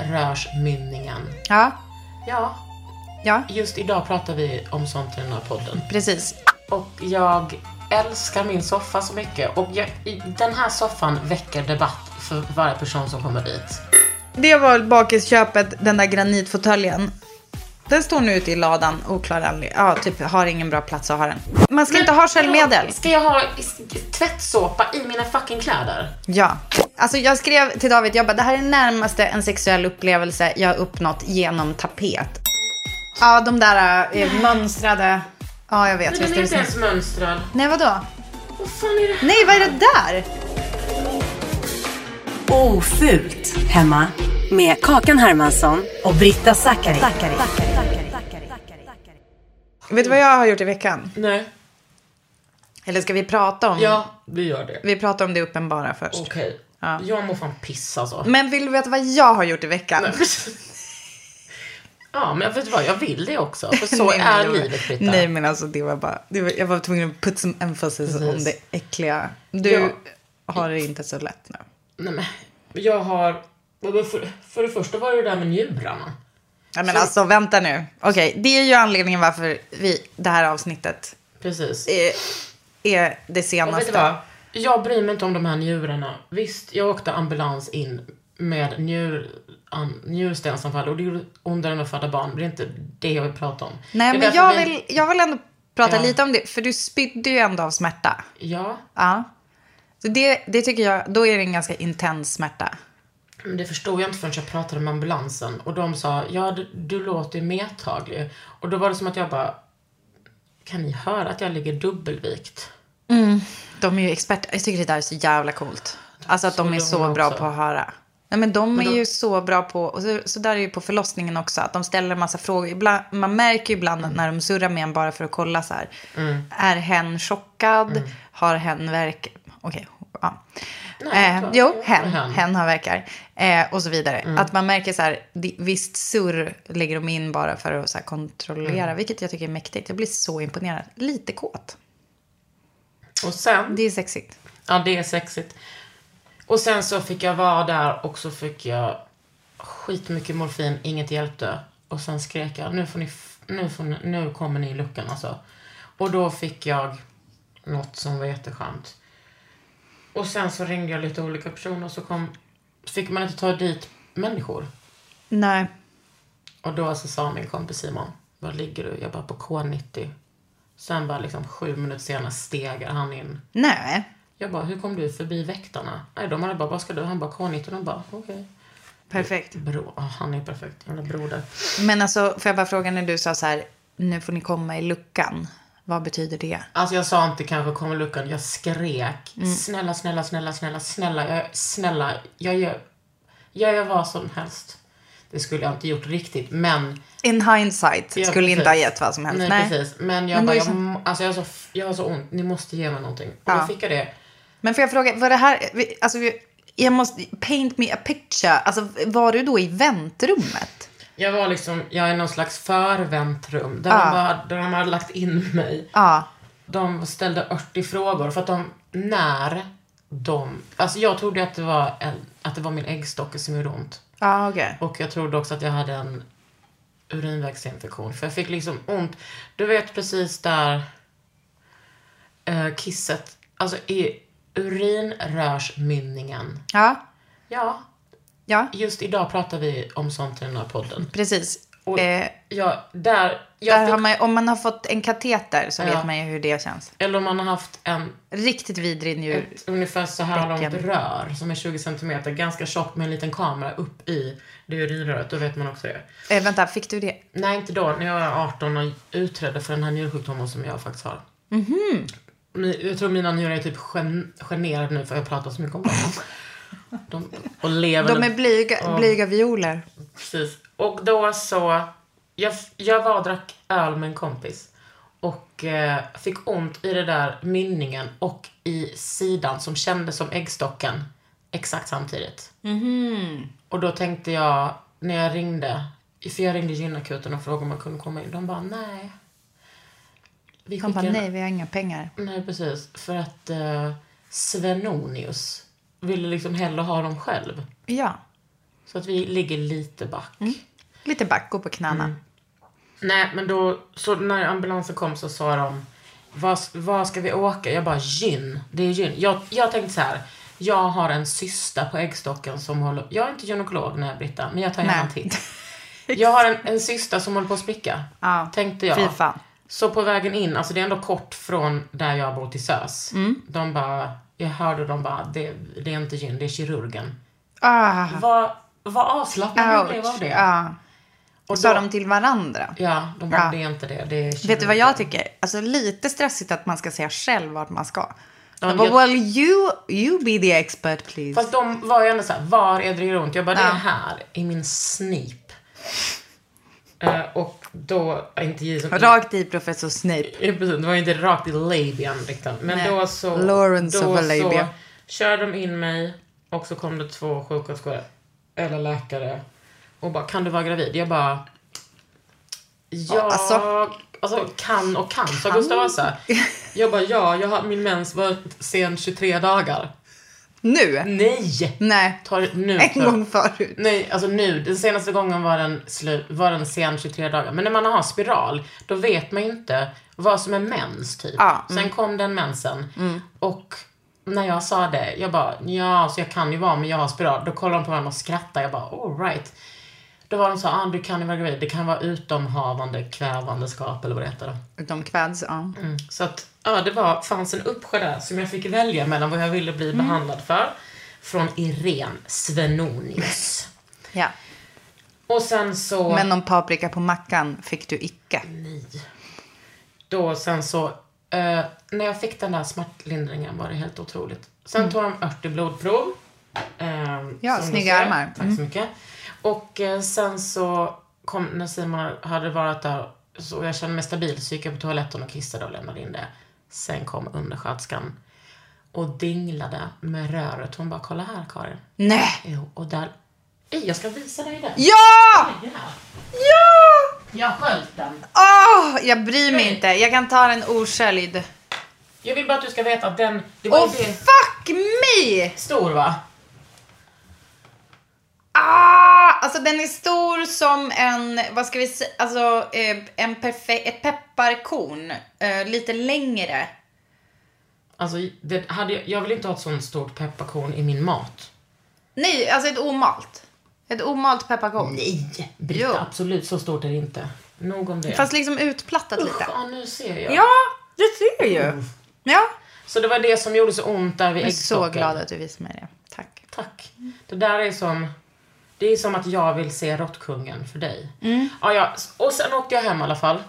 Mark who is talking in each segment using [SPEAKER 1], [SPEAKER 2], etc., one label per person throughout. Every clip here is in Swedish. [SPEAKER 1] Urinrörsmynningen.
[SPEAKER 2] Ja,
[SPEAKER 1] Ja,
[SPEAKER 2] ja,
[SPEAKER 1] just idag pratar vi om sånt i den här podden.
[SPEAKER 2] precis.
[SPEAKER 1] Och jag älskar min soffa så mycket. Och jag, i- den här soffan väcker debatt för varje person som kommer dit.
[SPEAKER 2] Det var bakisköpet, den där granitfåtöljen. Den står nu ute i ladan, oklar anledning. Ja, typ har ingen bra plats att ha den. Man ska inte ha sköljmedel.
[SPEAKER 1] Ska jag ha s- tvättsåpa i mina fucking kläder?
[SPEAKER 2] Ja. Alltså jag skrev till David, jag bara, det här är närmaste en sexuell upplevelse jag har uppnått genom tapet. Ja, de där eh, mönstrade. Ja, jag vet.
[SPEAKER 1] Men
[SPEAKER 2] visst
[SPEAKER 1] den är
[SPEAKER 2] är det
[SPEAKER 1] inte
[SPEAKER 2] så.
[SPEAKER 1] ens mönstrad.
[SPEAKER 2] Nej, vadå?
[SPEAKER 1] Vad fan är det här?
[SPEAKER 2] Nej, vad är det där?
[SPEAKER 3] Ofult hemma med Kakan Hermansson och Britta Zackari.
[SPEAKER 2] Vet du vad jag har gjort i veckan?
[SPEAKER 1] Nej.
[SPEAKER 2] Eller ska vi prata om?
[SPEAKER 1] Ja, vi gör det.
[SPEAKER 2] Vi pratar om det uppenbara först.
[SPEAKER 1] Okej.
[SPEAKER 2] Ja. Mm.
[SPEAKER 1] Jag mår fan piss alltså.
[SPEAKER 2] Men vill du veta vad jag har gjort i veckan?
[SPEAKER 1] ja, men vet du vad? Jag vill det också. För så
[SPEAKER 2] Nej, men
[SPEAKER 1] är
[SPEAKER 2] jag-
[SPEAKER 1] livet, Britta.
[SPEAKER 2] Nej men alltså det var bara, det var, jag var tvungen att put some emphasis om det äckliga. Du har det inte så lätt nu.
[SPEAKER 1] Nej, men jag har... För, för det första var det det där med njurarna.
[SPEAKER 2] Ja, men alltså vänta nu. Okej, det är ju anledningen varför vi, det här avsnittet
[SPEAKER 1] Precis.
[SPEAKER 2] är, är det
[SPEAKER 1] Och vet du
[SPEAKER 2] senaste.
[SPEAKER 1] vad? Jag bryr mig inte om de här njurarna. Visst, jag åkte ambulans in med njur, an, njurstensanfall och det gjorde ondare än att föda barn. men Det är inte det jag vill prata om.
[SPEAKER 2] Nej
[SPEAKER 1] det är
[SPEAKER 2] men
[SPEAKER 1] därför
[SPEAKER 2] jag
[SPEAKER 1] vi-
[SPEAKER 2] vill, jag vill ändå prata
[SPEAKER 1] Ja.
[SPEAKER 2] lite om det, för du spydde ju ändå av smärta.
[SPEAKER 1] Ja,
[SPEAKER 2] Ja. Så det, det tycker jag, då är det en ganska intens smärta.
[SPEAKER 1] men det förstod jag inte förrän jag pratade med ambulansen. Och de sa, ja du, du låter ju medtaglig. Och då var det som att jag bara, kan ni höra att jag ligger dubbelvikt?
[SPEAKER 2] De är ju experter. Jag tycker det där är så jävla coolt. Alltså att de är
[SPEAKER 1] de
[SPEAKER 2] så
[SPEAKER 1] också.
[SPEAKER 2] bra på att höra. Nej, men de är ju så bra på, och så, så där är det ju på förlossningen också, att de ställer en massa frågor. Ibland, man märker ju ibland när de surrar med en bara för att kolla så här. Är hen chockad? Har hen verk... Okej, ja.
[SPEAKER 1] Nej,
[SPEAKER 2] eh,
[SPEAKER 1] klart.
[SPEAKER 2] jo, hen,
[SPEAKER 1] Hen.
[SPEAKER 2] hen. har verkar. Eh, och så vidare. Att man märker så här, di- visst surr lägger de in bara för att så här, kontrollera, vilket jag tycker är mäktigt. Jag blir så imponerad. Lite kåt.
[SPEAKER 1] Och sen
[SPEAKER 2] Det är sexigt.
[SPEAKER 1] Ja, det är sexigt. Och sen så fick jag vara där och så fick jag skitmycket morfin, inget hjälpte. Och sen skrek jag, nu, får ni, f- nu, får ni, nu kommer ni i luckan alltså. Och då fick jag något som var jätteskönt. Och sen så ringde jag lite olika personer och så kom, fick man inte ta dit människor.
[SPEAKER 2] Nej.
[SPEAKER 1] Och då så sa min kompis Simon, var ligger du? Jag bara på K90. Sen bara liksom sju minuter senare stegar han in.
[SPEAKER 2] Nej.
[SPEAKER 1] Jag bara, hur kom du förbi väktarna? Nej, de hade bara, vad ska du? Han bara, K19. De bara, okej.
[SPEAKER 2] Perfekt.
[SPEAKER 1] Bro, ah, han är perfekt. Jävla broder.
[SPEAKER 2] Men alltså, får jag bara fråga när du sa så här, nu får ni komma i luckan. Vad betyder det?
[SPEAKER 1] Alltså jag sa inte kanske kom i luckan, jag skrek.
[SPEAKER 2] Mm.
[SPEAKER 1] Snälla, snälla, snälla, snälla, snälla, jag, snälla, jag gör, jag gör vad som helst. Det skulle jag inte gjort riktigt, men...
[SPEAKER 2] In hindsight
[SPEAKER 1] Ja,
[SPEAKER 2] skulle inte ha
[SPEAKER 1] precis.
[SPEAKER 2] gett vad som helst.
[SPEAKER 1] Nej,
[SPEAKER 2] Nej,
[SPEAKER 1] precis. Men jag
[SPEAKER 2] Men
[SPEAKER 1] bara,
[SPEAKER 2] det är
[SPEAKER 1] jag,
[SPEAKER 2] ju så-
[SPEAKER 1] må- alltså jag, har så, jag har så ont, ni måste ge mig någonting. Och
[SPEAKER 2] Ja.
[SPEAKER 1] då fick jag det.
[SPEAKER 2] Men får jag fråga, var det här... vi- Alltså, vi- jag måste... Paint me a picture. Alltså, var du då i väntrummet?
[SPEAKER 1] Jag var liksom, jag är någon slags förväntrum. Där,
[SPEAKER 2] Ja.
[SPEAKER 1] de bara, där de hade lagt in mig.
[SPEAKER 2] Ja.
[SPEAKER 1] De ställde 80 frågor för att de, när de, alltså jag trodde att det var, en, att det var min äggstocke som gjorde ont.
[SPEAKER 2] Ja, okej.
[SPEAKER 1] Och jag trodde också att jag hade en urinvägsinfektion. För jag fick liksom ont. Du vet precis där eh, kisset, alltså i urinrörsmynningen.
[SPEAKER 2] Ja.
[SPEAKER 1] Ja,
[SPEAKER 2] Ja,
[SPEAKER 1] just idag pratar vi om sånt i den här podden.
[SPEAKER 2] precis.
[SPEAKER 1] Och
[SPEAKER 2] Eh,
[SPEAKER 1] jag, där, jag
[SPEAKER 2] där
[SPEAKER 1] fick,
[SPEAKER 2] har man, ju- om man har fått en kateter så
[SPEAKER 1] Ja.
[SPEAKER 2] vet man ju hur det känns.
[SPEAKER 1] eller om man har haft en,
[SPEAKER 2] Riktigt vidrig njur.
[SPEAKER 1] ett ungefär så här långt
[SPEAKER 2] Bäcken.
[SPEAKER 1] rör som är 20 centimeter, ganska tjockt med en liten kamera upp i det urinröret, då vet man också det.
[SPEAKER 2] Eh, vänta, fick du det?
[SPEAKER 1] Nej, inte då. När jag var 18 och utredde för den här njursjukdomen som jag faktiskt har.
[SPEAKER 2] Mhm.
[SPEAKER 1] Mi- Jag tror mina njurar är typ gen- generade nu för jag pratar så mycket om dem. De, och lever
[SPEAKER 2] De är blyga, blyga violer.
[SPEAKER 1] Precis. Och då så... Jag, jag var och drack öl med en kompis. Och eh, fick ont i det där mynningen och i sidan som kändes som äggstocken. Exakt samtidigt.
[SPEAKER 2] Mhm.
[SPEAKER 1] Och då tänkte jag, när jag ringde. För jag ringde gynakuten och frågade om man kunde komma in. De bara, nej. Vi
[SPEAKER 2] De bara,
[SPEAKER 1] skickar en
[SPEAKER 2] nej, vi har inga pengar.
[SPEAKER 1] Nej, precis. För att eh, Svenonius ville liksom hellre ha dem själv.
[SPEAKER 2] Ja,
[SPEAKER 1] Så att vi ligger lite back.
[SPEAKER 2] Mm. lite backo på knäna.
[SPEAKER 1] Nej, men då, så när ambulansen kom så sa de, vad, vad ska vi åka? Jag bara, gyn. Det är gyn. Jag, jag tänkte så här, jag har en syster på äggstocken som håller, jag är inte gynekolog när jag är Britta, men jag tar gärna
[SPEAKER 2] Nej.
[SPEAKER 1] en titt. Jag har en, en syster som håller på att spricka,
[SPEAKER 2] Ja,
[SPEAKER 1] tänkte jag.
[SPEAKER 2] fy fan.
[SPEAKER 1] Så på vägen in, alltså det är ändå kort från där jag bor till SÖS.
[SPEAKER 2] Mm.
[SPEAKER 1] De bara, jag hörde dem bara, det, det är inte gyn, det är kirurgen.
[SPEAKER 2] Ah,
[SPEAKER 1] Vad, vad avslappnad man blev av
[SPEAKER 2] ouch.
[SPEAKER 1] det.
[SPEAKER 2] Ja.
[SPEAKER 1] Och
[SPEAKER 2] Sa
[SPEAKER 1] då-
[SPEAKER 2] de till varandra.
[SPEAKER 1] Ja, de bara,
[SPEAKER 2] Ja.
[SPEAKER 1] det är inte det. det är
[SPEAKER 2] Vet du vad
[SPEAKER 1] kirurgen."
[SPEAKER 2] jag tycker? Alltså lite stressigt att man ska säga själv vart man ska.
[SPEAKER 1] Ja,
[SPEAKER 2] De bara,
[SPEAKER 1] jag-
[SPEAKER 2] well you, you be the expert please.
[SPEAKER 1] Fast de var ju ändå såhär, var är det gör ont? Jag bara, det är här, i min snip. Eh, och då, inte gisen.
[SPEAKER 2] Rakt i professor Snape.
[SPEAKER 1] Ja, precis, det var ju inte rakt i labian riktigt. Men
[SPEAKER 2] Nej.
[SPEAKER 1] då så...
[SPEAKER 2] Lawrence
[SPEAKER 1] då
[SPEAKER 2] of a labia.
[SPEAKER 1] så körde de in mig och så kom det två sjuksköterskor, eller läkare, och bara, kan du vara gravid? Jag bara... Ja,
[SPEAKER 2] alltså.
[SPEAKER 1] alltså, kan och kan, sa Gustav Vasa. Jag bara, ja, jag har, min mens var sen 23 dagar.
[SPEAKER 2] Nu?
[SPEAKER 1] Nej!
[SPEAKER 2] Nej.
[SPEAKER 1] Mm. Ta det nu.
[SPEAKER 2] En
[SPEAKER 1] tror jag.
[SPEAKER 2] gång förut.
[SPEAKER 1] Nej, alltså nu. Den senaste gången var den, slu, var den sen 23 dagar. Men när man har spiral, då vet man ju inte vad som är mens typ.
[SPEAKER 2] Ja, mm.
[SPEAKER 1] Sen kom den mensen. Och när jag sa det, jag bara, ja, så jag kan ju vara, men jag har spiral. Då kollade de på varandra och skrattade. Jag bara, all right. Då var de så, ah, du kan ju vara gravid. Det kan vara utomhavande kvävandeskap eller vad det heter.
[SPEAKER 2] De kväds, ja.
[SPEAKER 1] Mm. Så att, ja, det var, fanns en uppsjö där som jag fick välja mellan vad jag ville bli behandlad för. Från Irene Svenonius.
[SPEAKER 2] ja.
[SPEAKER 1] Och sen så...
[SPEAKER 2] Men någon paprika på mackan fick du icke.
[SPEAKER 1] då sen så, eh, när jag fick den där smärtlindringen var det helt otroligt. Sen tog de 80 blodprov. Eh,
[SPEAKER 2] Mm. Ja,
[SPEAKER 1] som du
[SPEAKER 2] snygga
[SPEAKER 1] ser.
[SPEAKER 2] armar. Mm.
[SPEAKER 1] Tack så mycket. Och eh, sen så kom, när Simon hade varit där så jag kände mig stabil så gick jag på toaletten och kissade och lämnade in det. Sen kom undersköterskan och dinglade med röret. Hon bara, kolla här Karin.
[SPEAKER 2] Nej!
[SPEAKER 1] Jo, och där, Ej, jag ska visa dig den.
[SPEAKER 2] Ja!
[SPEAKER 1] Den här.
[SPEAKER 2] Ja!
[SPEAKER 1] Jag sköt den.
[SPEAKER 2] Åh, jag bryr mig inte. Jag kan ta den osköljd.
[SPEAKER 1] Jag vill bara att du ska veta att den, det var
[SPEAKER 2] Åh,
[SPEAKER 1] ju det.
[SPEAKER 2] fuck me!
[SPEAKER 1] Stor va?
[SPEAKER 2] Ah! Alltså den är stor som en, vad ska vi säga, alltså eh, en perfekt, ett pepparkorn. Eh, lite längre.
[SPEAKER 1] Alltså, det hade jag, jag vill inte ha ett sånt stort pepparkorn i min mat.
[SPEAKER 2] Nej, alltså ett omalt. Ett omalt pepparkorn.
[SPEAKER 1] Nej! Britta,
[SPEAKER 2] Jo.
[SPEAKER 1] absolut så stort är det inte. Nog om det.
[SPEAKER 2] Fast liksom utplattat
[SPEAKER 1] Usch,
[SPEAKER 2] lite.
[SPEAKER 1] ja, nu ser jag.
[SPEAKER 2] Ja, det ser ju. Ja.
[SPEAKER 1] Så det var det som gjorde så ont där vid
[SPEAKER 2] Jag är så
[SPEAKER 1] äggstocken.
[SPEAKER 2] glad att du visade mig det. Tack.
[SPEAKER 1] Tack. Det där är som... Det är som att jag vill se Råttkungen för dig.
[SPEAKER 2] Mm.
[SPEAKER 1] Ja, ja. Och sen åkte jag hem i alla fall.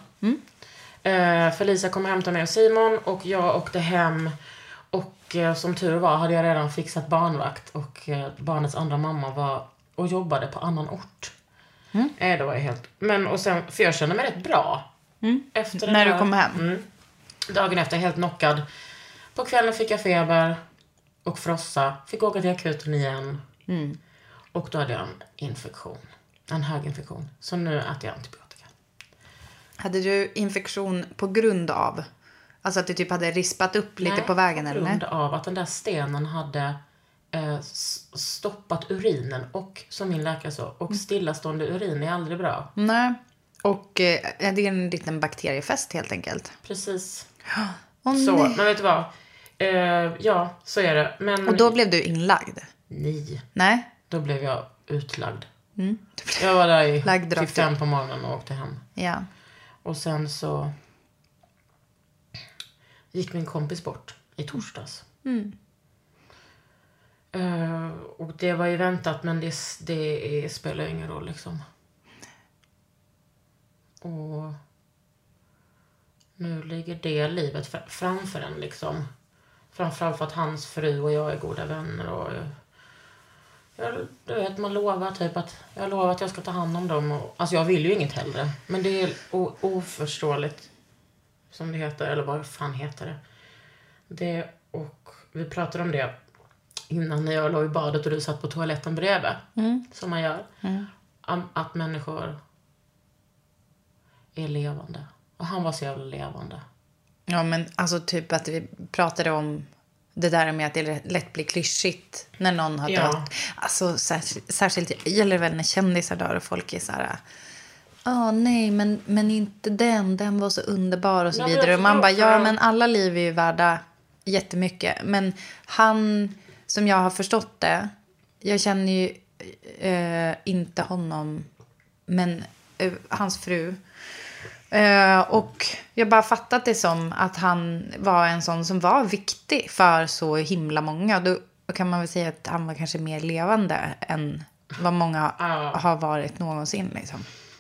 [SPEAKER 1] Eh, Felicia kom och hämtade mig och Simon och jag åkte hem. Och eh, som tur var hade jag redan fixat barnvakt och eh, barnets andra mamma var och jobbade på annan ort.
[SPEAKER 2] Mm.
[SPEAKER 1] Eh, det var jag helt... Men och sen, för jag kände mig rätt bra. Efter den
[SPEAKER 2] Mm. När du
[SPEAKER 1] här-
[SPEAKER 2] kom hem?
[SPEAKER 1] Mm. Dagen efter, helt knockad. På kvällen fick jag feber och frossa. Fick åka till akuten igen.
[SPEAKER 2] Mm.
[SPEAKER 1] Och då hade jag en infektion. En höginfektion. Så nu äter jag antibiotika.
[SPEAKER 2] Hade du infektion på grund av? Alltså att du typ hade rispat upp lite
[SPEAKER 1] Nej,
[SPEAKER 2] på vägen
[SPEAKER 1] På
[SPEAKER 2] eller?
[SPEAKER 1] grund
[SPEAKER 2] Nej?
[SPEAKER 1] av att den där stenen hade eh, s- stoppat urinen och, som min läkare sa, och
[SPEAKER 2] Mm.
[SPEAKER 1] stillastående urin är aldrig bra.
[SPEAKER 2] Nej. Och eh, det är en liten bakteriefest helt enkelt.
[SPEAKER 1] Precis.
[SPEAKER 2] Åh,
[SPEAKER 1] Så,
[SPEAKER 2] nej.
[SPEAKER 1] men vet du vad? Eh, ja, så är det. Men
[SPEAKER 2] Och då blev du inlagd?
[SPEAKER 1] nej,
[SPEAKER 2] Nej?
[SPEAKER 1] då blev jag utlagd. Jag var där i,
[SPEAKER 2] Mm. Lagd
[SPEAKER 1] till
[SPEAKER 2] rakt
[SPEAKER 1] fem på morgonen och åkte hem.
[SPEAKER 2] Ja.
[SPEAKER 1] Och sen så gick min kompis bort i torsdags.
[SPEAKER 2] Mm.
[SPEAKER 1] Eh, och det var ju väntat, men det, det är, spelar ju ingen roll liksom. Och nu ligger det livet fra- framför en liksom. Framförallt för att hans fru och jag är goda vänner. Och jag, jag, du vet, man lovar typ att jag lovar att jag ska ta hand om dem. Och, alltså jag vill ju inget hellre. Men det är o, oförståeligt. Som det heter, eller vad fan heter det. Det och vi pratade om det innan när jag låg i badet och du satt på toaletten bredvid. Som man gör. Am- Att människor är levande. Och han var så jävla levande.
[SPEAKER 2] Ja, men alltså typ att vi pratade om det där med att det lätt blir klyschigt när någon har
[SPEAKER 1] Ja.
[SPEAKER 2] dött. Alltså särskilt, särskilt gäller det väl när kändisar dör och folk är så här... Ja, nej, men, men inte den. Den var så underbar och så
[SPEAKER 1] Ja, men
[SPEAKER 2] vidare. Och man
[SPEAKER 1] jag
[SPEAKER 2] bara,
[SPEAKER 1] förstår.
[SPEAKER 2] ja, men alla liv är ju värda jättemycket. Men han, som jag har förstått det, jag känner ju eh, inte honom, men eh, hans fru. Eh, och jag bara fattat det som att han var en sån som var viktig för så himla många. Då, då kan man väl säga att han var kanske mer levande än vad många har varit någonsin. Liksom.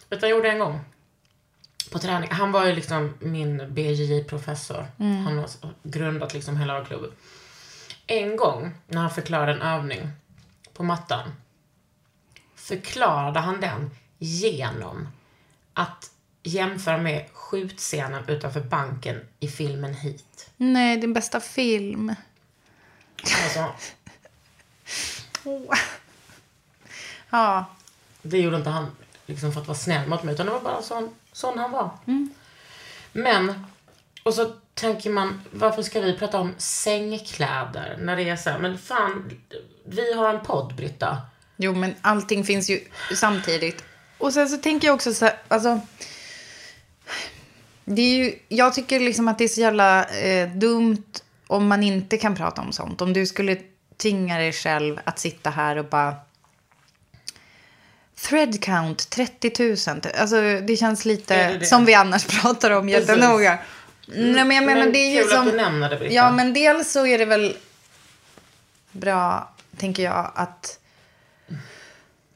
[SPEAKER 1] Vet du vad jag gjorde en gång? På träning. Han var ju liksom min BJJ-professor. Han har grundat liksom hela klubben. En gång när han förklarade en övning på mattan förklarade han den genom att jämföra med skjutscenen utanför banken i filmen Heat.
[SPEAKER 2] Nej, din bästa film.
[SPEAKER 1] Alltså,
[SPEAKER 2] Åh. Ja,
[SPEAKER 1] Det gjorde inte han liksom för att vara snäll mot mig, utan det var bara sån, sån han var.
[SPEAKER 2] Mm.
[SPEAKER 1] Men, och så tänker man, varför ska vi prata om sängkläder när det är så här, men fan, vi har en podd, Britta.
[SPEAKER 2] Jo, men allting finns ju samtidigt. Och sen så tänker jag också så här, alltså. Det är ju, jag tycker liksom att det är så jävla eh, dumt om man inte kan prata om sånt. Om du skulle tvinga dig själv att sitta här och bara... Thread count 30 000. Alltså det känns lite
[SPEAKER 1] Är det Mm. det?
[SPEAKER 2] som vi annars pratar om jättenoga. Nej, men jag menar
[SPEAKER 1] Men
[SPEAKER 2] det är ju
[SPEAKER 1] kul
[SPEAKER 2] som...
[SPEAKER 1] att du nämner det, Britta.
[SPEAKER 2] Ja, men dels så är det väl bra, tänker jag, att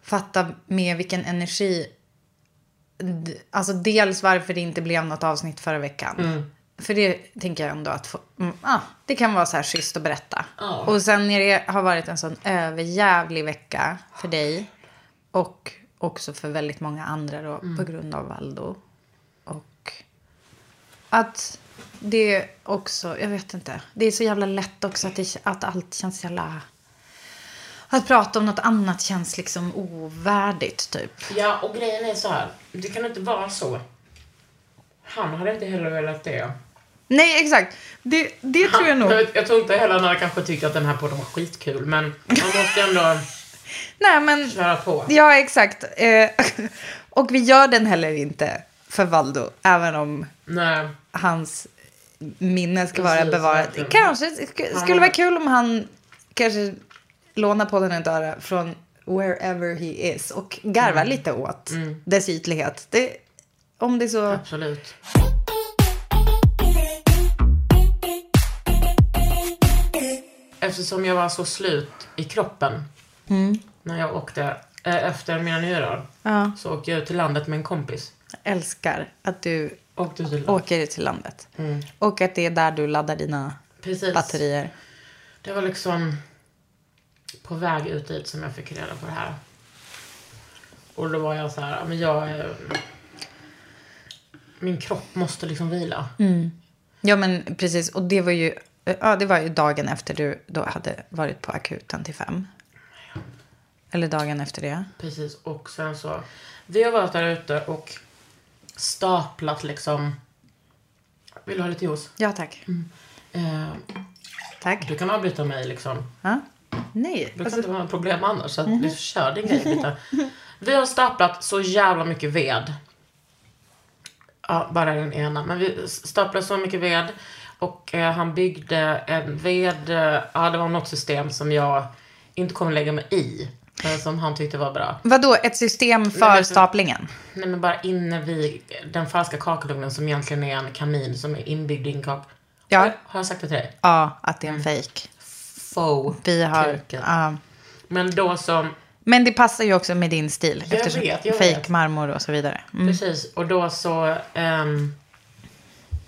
[SPEAKER 2] fatta med vilken energi... d- Alltså dels varför det inte blev något avsnitt förra veckan. För det tänker jag ändå att få, mm, ah, det kan vara så här schysst att berätta.
[SPEAKER 1] Ja.
[SPEAKER 2] Och sen när det har varit en sån överjävlig vecka för dig och också för väldigt många andra då, på grund av Valdo. Och att det också, jag vet inte. Det är så jävla lätt också att, det, att allt känns jävla... Att prata om något annat känns liksom ovärdigt typ.
[SPEAKER 1] Ja, och grejen är så här, det kan inte vara så. Han hade inte heller velat det.
[SPEAKER 2] Nej, exakt. Det, det tror jag nog.
[SPEAKER 1] Jag, vet, jag tror inte heller när han kanske tyckte att den här podden var skitkul, men man måste ändå
[SPEAKER 2] Nej, men...
[SPEAKER 1] köra på.
[SPEAKER 2] Ja, exakt. Eh, och vi gör den heller inte för Valdo, även om
[SPEAKER 1] Nej.
[SPEAKER 2] hans minne ska
[SPEAKER 1] Precis,
[SPEAKER 2] vara bevarat.
[SPEAKER 1] verkligen.
[SPEAKER 2] Kanske sk- skulle vara kul om han kanske lånar podden ett öra från wherever he is och
[SPEAKER 1] Mm.
[SPEAKER 2] garvar lite åt dess ytlighet. Det, om det är så...
[SPEAKER 1] Absolut. Eftersom jag var så slut i kroppen när jag åkte eh, efter mina nyår
[SPEAKER 2] Ja.
[SPEAKER 1] så åkte jag ut till landet med en kompis.
[SPEAKER 2] Älskar att du
[SPEAKER 1] Åkte ut till landet.
[SPEAKER 2] åker ut till landet. Och att det är där du laddar dina
[SPEAKER 1] Mm. Precis.
[SPEAKER 2] batterier.
[SPEAKER 1] Det var liksom på väg ut dit som jag fick reda på det här. Och då var jag så här, men jag... är- Min kropp måste liksom vila.
[SPEAKER 2] Ja, men precis. Och det var ju, ja, det var ju dagen efter du då hade varit på akuten till fem. Eller dagen efter det.
[SPEAKER 1] Precis, och sen så... Vi har varit där ute och staplat liksom... Vill du ha lite juice?
[SPEAKER 2] Ja, tack.
[SPEAKER 1] Eh,
[SPEAKER 2] Tack.
[SPEAKER 1] du kan avbryta mig liksom.
[SPEAKER 2] Ja. Nej.
[SPEAKER 1] Du kan
[SPEAKER 2] Alltså,
[SPEAKER 1] inte ha några problem annars. Så att vi kör din grej lite. Vi har staplat så jävla mycket ved. Ja, bara den ena. Men vi staplade så mycket ved. Och eh, han byggde en ved... Eh, ja, det var något system som jag inte kommer lägga mig i. Men som han tyckte var bra.
[SPEAKER 2] vadå, ett system för
[SPEAKER 1] Nej, men-
[SPEAKER 2] staplingen?
[SPEAKER 1] Nej men bara inne vid den falska kakelugnen som egentligen är en kamin som är inbyggd i en kak...
[SPEAKER 2] Ja.
[SPEAKER 1] Har, jag- har jag sagt det till dig?
[SPEAKER 2] Ja, att det är en
[SPEAKER 1] Mm.
[SPEAKER 2] fejk.
[SPEAKER 1] Faux.
[SPEAKER 2] Vi har...
[SPEAKER 1] kuken.
[SPEAKER 2] Ja.
[SPEAKER 1] Men då som...
[SPEAKER 2] Men det passar ju också med din stil.
[SPEAKER 1] Jag vet, jag vet.
[SPEAKER 2] Fake marmor och så vidare. Mm.
[SPEAKER 1] Precis. Och då så... ehm,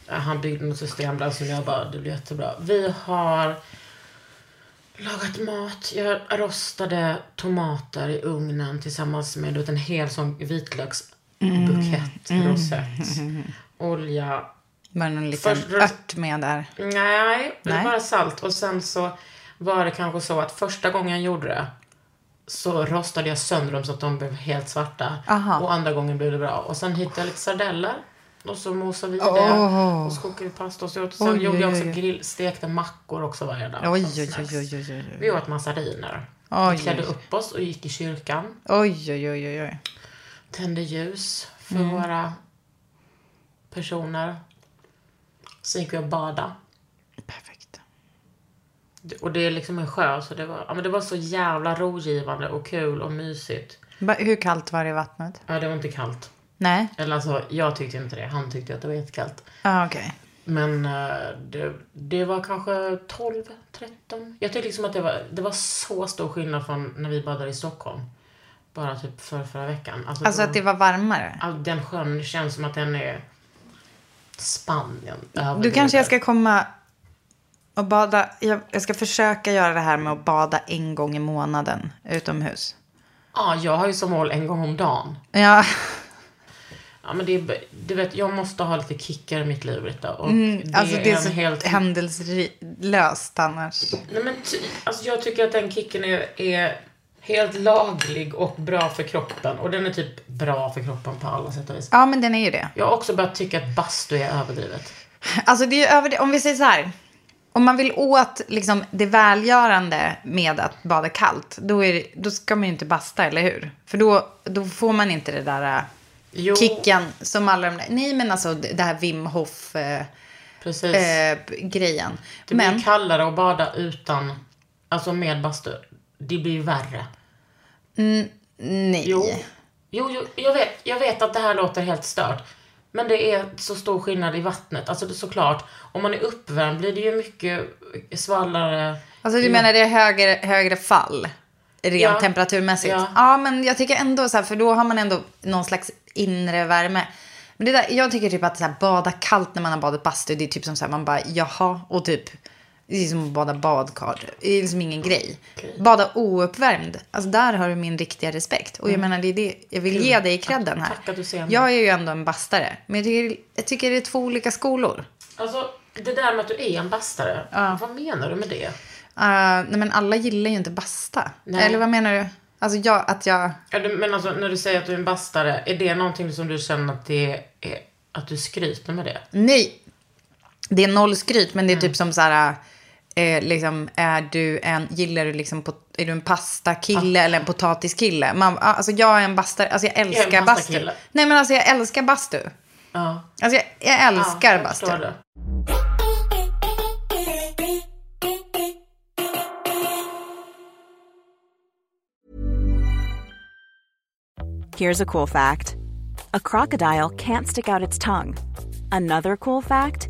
[SPEAKER 1] han byggde något system där som jag bara, det blir jättebra. Vi har lagat mat. Jag rostade tomater i ugnen tillsammans med du vet, en hel sån vitlöksbukett, rosett, olja,
[SPEAKER 2] Var det någon liten
[SPEAKER 1] Först-
[SPEAKER 2] ört med där?
[SPEAKER 1] Nej, det var
[SPEAKER 2] Nej.
[SPEAKER 1] bara salt. Och sen så var det kanske så att första gången jag gjorde det så rostade jag sönder dem så att de blev helt svarta.
[SPEAKER 2] Aha.
[SPEAKER 1] Och andra gången blev det bra. Och sen hittade jag lite sardeller. Och så mosade vi det.
[SPEAKER 2] Åh.
[SPEAKER 1] Och så kokade vi pasta och så åt. Sen
[SPEAKER 2] Oj,
[SPEAKER 1] gjorde jag
[SPEAKER 2] oj,
[SPEAKER 1] också
[SPEAKER 2] oj.
[SPEAKER 1] grill, stekta mackor också varje dag.
[SPEAKER 2] Oj,
[SPEAKER 1] som
[SPEAKER 2] oj,
[SPEAKER 1] snacks.
[SPEAKER 2] oj, oj, oj, oj.
[SPEAKER 1] Vi åt massariner.
[SPEAKER 2] Oj,
[SPEAKER 1] Vi klädde
[SPEAKER 2] oj.
[SPEAKER 1] upp oss och gick i kyrkan.
[SPEAKER 2] Oj, oj, oj, oj, oj.
[SPEAKER 1] Tände ljus för
[SPEAKER 2] Mm.
[SPEAKER 1] våra personer. Sen gick vi och badade.
[SPEAKER 2] Perfekt.
[SPEAKER 1] Och det är liksom en sjö, så det var, ja, men det var så jävla rogivande och kul och mysigt.
[SPEAKER 2] Va- Hur kallt var det i vattnet?
[SPEAKER 1] Ja, det var inte kallt.
[SPEAKER 2] Nej?
[SPEAKER 1] Eller alltså, jag tyckte inte det. Han tyckte att det var jättekallt.
[SPEAKER 2] Ja, okej.
[SPEAKER 1] Men eh, det, det var kanske 12, 13. Jag tyckte liksom att det var, det var så stor skillnad från när vi badade i Stockholm. Bara typ för förra veckan. Alltså,
[SPEAKER 2] Alltså att det var varmare?
[SPEAKER 1] ja, den sjön känns som att den är Spanien.
[SPEAKER 2] Du kanske jag ska komma och bada. Jag, jag ska försöka göra det här med att bada en gång i månaden utomhus.
[SPEAKER 1] Ja, jag har ju som mål en gång om dagen.
[SPEAKER 2] Ja,
[SPEAKER 1] Ja, men det är, du vet, jag måste ha lite kickar i mitt liv, Britta. Och det,
[SPEAKER 2] alltså det är
[SPEAKER 1] en
[SPEAKER 2] så
[SPEAKER 1] helt...
[SPEAKER 2] händelselöst annars.
[SPEAKER 1] Nej, men ty, alltså, jag tycker att den kicken är, är helt laglig och bra för kroppen. Och den är typ bra för kroppen på alla sätt och vis.
[SPEAKER 2] Ja, men den är ju det.
[SPEAKER 1] Jag har också börjat tycka att bastu är överdrivet.
[SPEAKER 2] Alltså det är ju över det. Om vi säger så här. Om man vill åt liksom, det välgörande med att bada kallt, då, är det, då ska man ju inte basta, eller hur? För då, då får man inte det där äh,
[SPEAKER 1] Jo.
[SPEAKER 2] kicken som alla de där... Nej, men alltså det det här Wim äh, Hof-grejen.
[SPEAKER 1] Precis. det
[SPEAKER 2] Eh, men,
[SPEAKER 1] blir kallare att bada utan, alltså med bastu. Det blir värre.
[SPEAKER 2] nej.
[SPEAKER 1] Jo. Jo, jo jag, vet, jag vet att det här låter helt stört. Men det är så stor skillnad i vattnet. Alltså det är såklart, om man är uppvärmd blir det ju mycket svallare.
[SPEAKER 2] Alltså du menar det är högre, högre fall? Rent
[SPEAKER 1] Ja.
[SPEAKER 2] temperaturmässigt?
[SPEAKER 1] Ja.
[SPEAKER 2] Ja. men jag tycker ändå så här, för då har man ändå någon slags inre värme. Men det där, jag tycker typ att så här, bada kallt när man har badat bastu, det är typ som så här, man bara jaha och typ. Det är som att bada badkar. Det är liksom ingen grej. Bada ouppvärmd. Alltså där har du min riktiga respekt. Och jag menar det är det jag vill ge dig credden här.
[SPEAKER 1] Mm. Tack att du ser mig.
[SPEAKER 2] jag är ju ändå en bastare. Men jag tycker, jag tycker det är två olika skolor.
[SPEAKER 1] Alltså det där med att du är en bastare. Vad menar du med det?
[SPEAKER 2] Ah, nej men alla gillar ju inte basta.
[SPEAKER 1] Nej.
[SPEAKER 2] Eller vad menar du? Alltså jag, att jag...
[SPEAKER 1] Ja, du- Men alltså när du säger att du är en bastare, är det någonting som du känner att det är, att du skryter med det?
[SPEAKER 2] Nej! Det är noll skryt, men det är
[SPEAKER 1] Mm.
[SPEAKER 2] typ som så här... Eh, liksom, är du en, gillar du liksom, pot, är du en pastakille
[SPEAKER 1] Ah.
[SPEAKER 2] eller en potatiskille? Man, ah, alltså jag är en bastare, alltså jag älskar bastu.
[SPEAKER 1] pastakille.
[SPEAKER 2] Nej men alltså jag älskar bastu.
[SPEAKER 1] Ja.
[SPEAKER 2] Alltså jag, jag älskar
[SPEAKER 1] jag
[SPEAKER 2] bastu.
[SPEAKER 1] förstår det.
[SPEAKER 4] Here's a cool fact a crocodile can't stick out its tongue. Another cool fact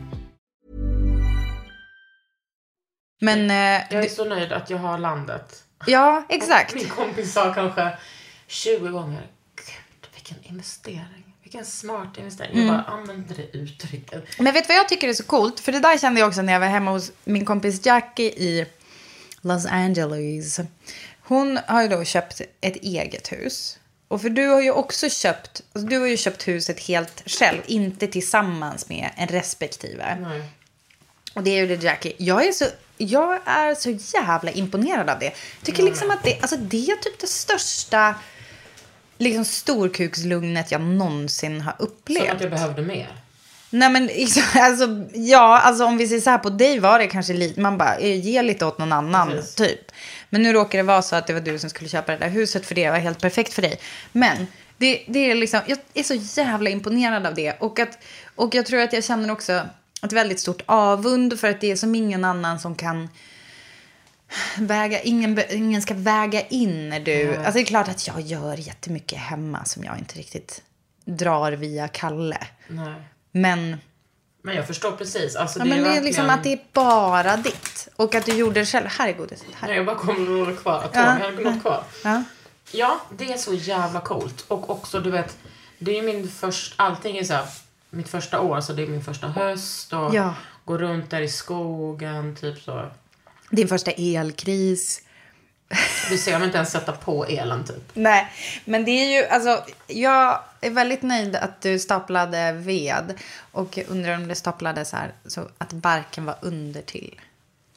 [SPEAKER 2] Men eh,
[SPEAKER 1] Jag är
[SPEAKER 2] du-
[SPEAKER 1] så nöjd att jag har landet.
[SPEAKER 2] ja, exakt.
[SPEAKER 1] Min kompis sa kanske 20 gånger, gud vilken investering. Vilken smart investering.
[SPEAKER 2] Mm.
[SPEAKER 1] Jag bara använder det uttrycket.
[SPEAKER 2] Men vet du vad jag tycker är så coolt? För det där kände jag också när jag var hemma hos min kompis Jackie i Los Angeles. Hon har ju då köpt ett eget hus. Och för du har ju också köpt, alltså du har ju köpt huset helt själv, inte tillsammans med en respektive. Och det gjorde Jackie. Jag är så, jag är så jävla imponerad av det. Jag tycker liksom att det, alltså det är typ det största liksom storkukslugnet jag någonsin har upplevt.
[SPEAKER 1] Som att jag behövde mer.
[SPEAKER 2] Nej men liksom, alltså, ja, alltså om vi ser så här på dig var det kanske lite, man bara eh, ge lite åt någon annan
[SPEAKER 1] Precis.
[SPEAKER 2] typ. Men nu råkar det vara så att det var du som skulle köpa det där huset för det var helt perfekt för dig. Men det, det är liksom, jag är så jävla imponerad av det och, att, och jag tror att jag känner också ett väldigt stort avund för att det är som ingen annan som kan väga, ingen, be- ingen ska väga in när du... Alltså det är klart att jag gör jättemycket hemma som jag inte riktigt drar via Kalle.
[SPEAKER 1] Nej.
[SPEAKER 2] Men,
[SPEAKER 1] Men jag förstår precis. Alltså,
[SPEAKER 2] ja, men det är
[SPEAKER 1] verkligen-
[SPEAKER 2] liksom att det är bara ditt. Och att du gjorde det själv. Här är godiset.
[SPEAKER 1] Nej,
[SPEAKER 2] Här.
[SPEAKER 1] jag bara kommer att några kvar. Att
[SPEAKER 2] Ja.
[SPEAKER 1] jag har något kvar.
[SPEAKER 2] Ja.
[SPEAKER 1] Ja, det är så jävla coolt. Och också, du vet, det är min första, allting är så här, mitt första år, så det är min första höst och
[SPEAKER 2] Ja.
[SPEAKER 1] gå runt där i skogen, typ så.
[SPEAKER 2] Din första elkris.
[SPEAKER 1] Du ser mig inte ens sätta på elen, typ.
[SPEAKER 2] Nej, men det är ju alltså. Jag är väldigt nöjd att du staplade ved. Och jag undrar om du staplade så här så att barken var under till.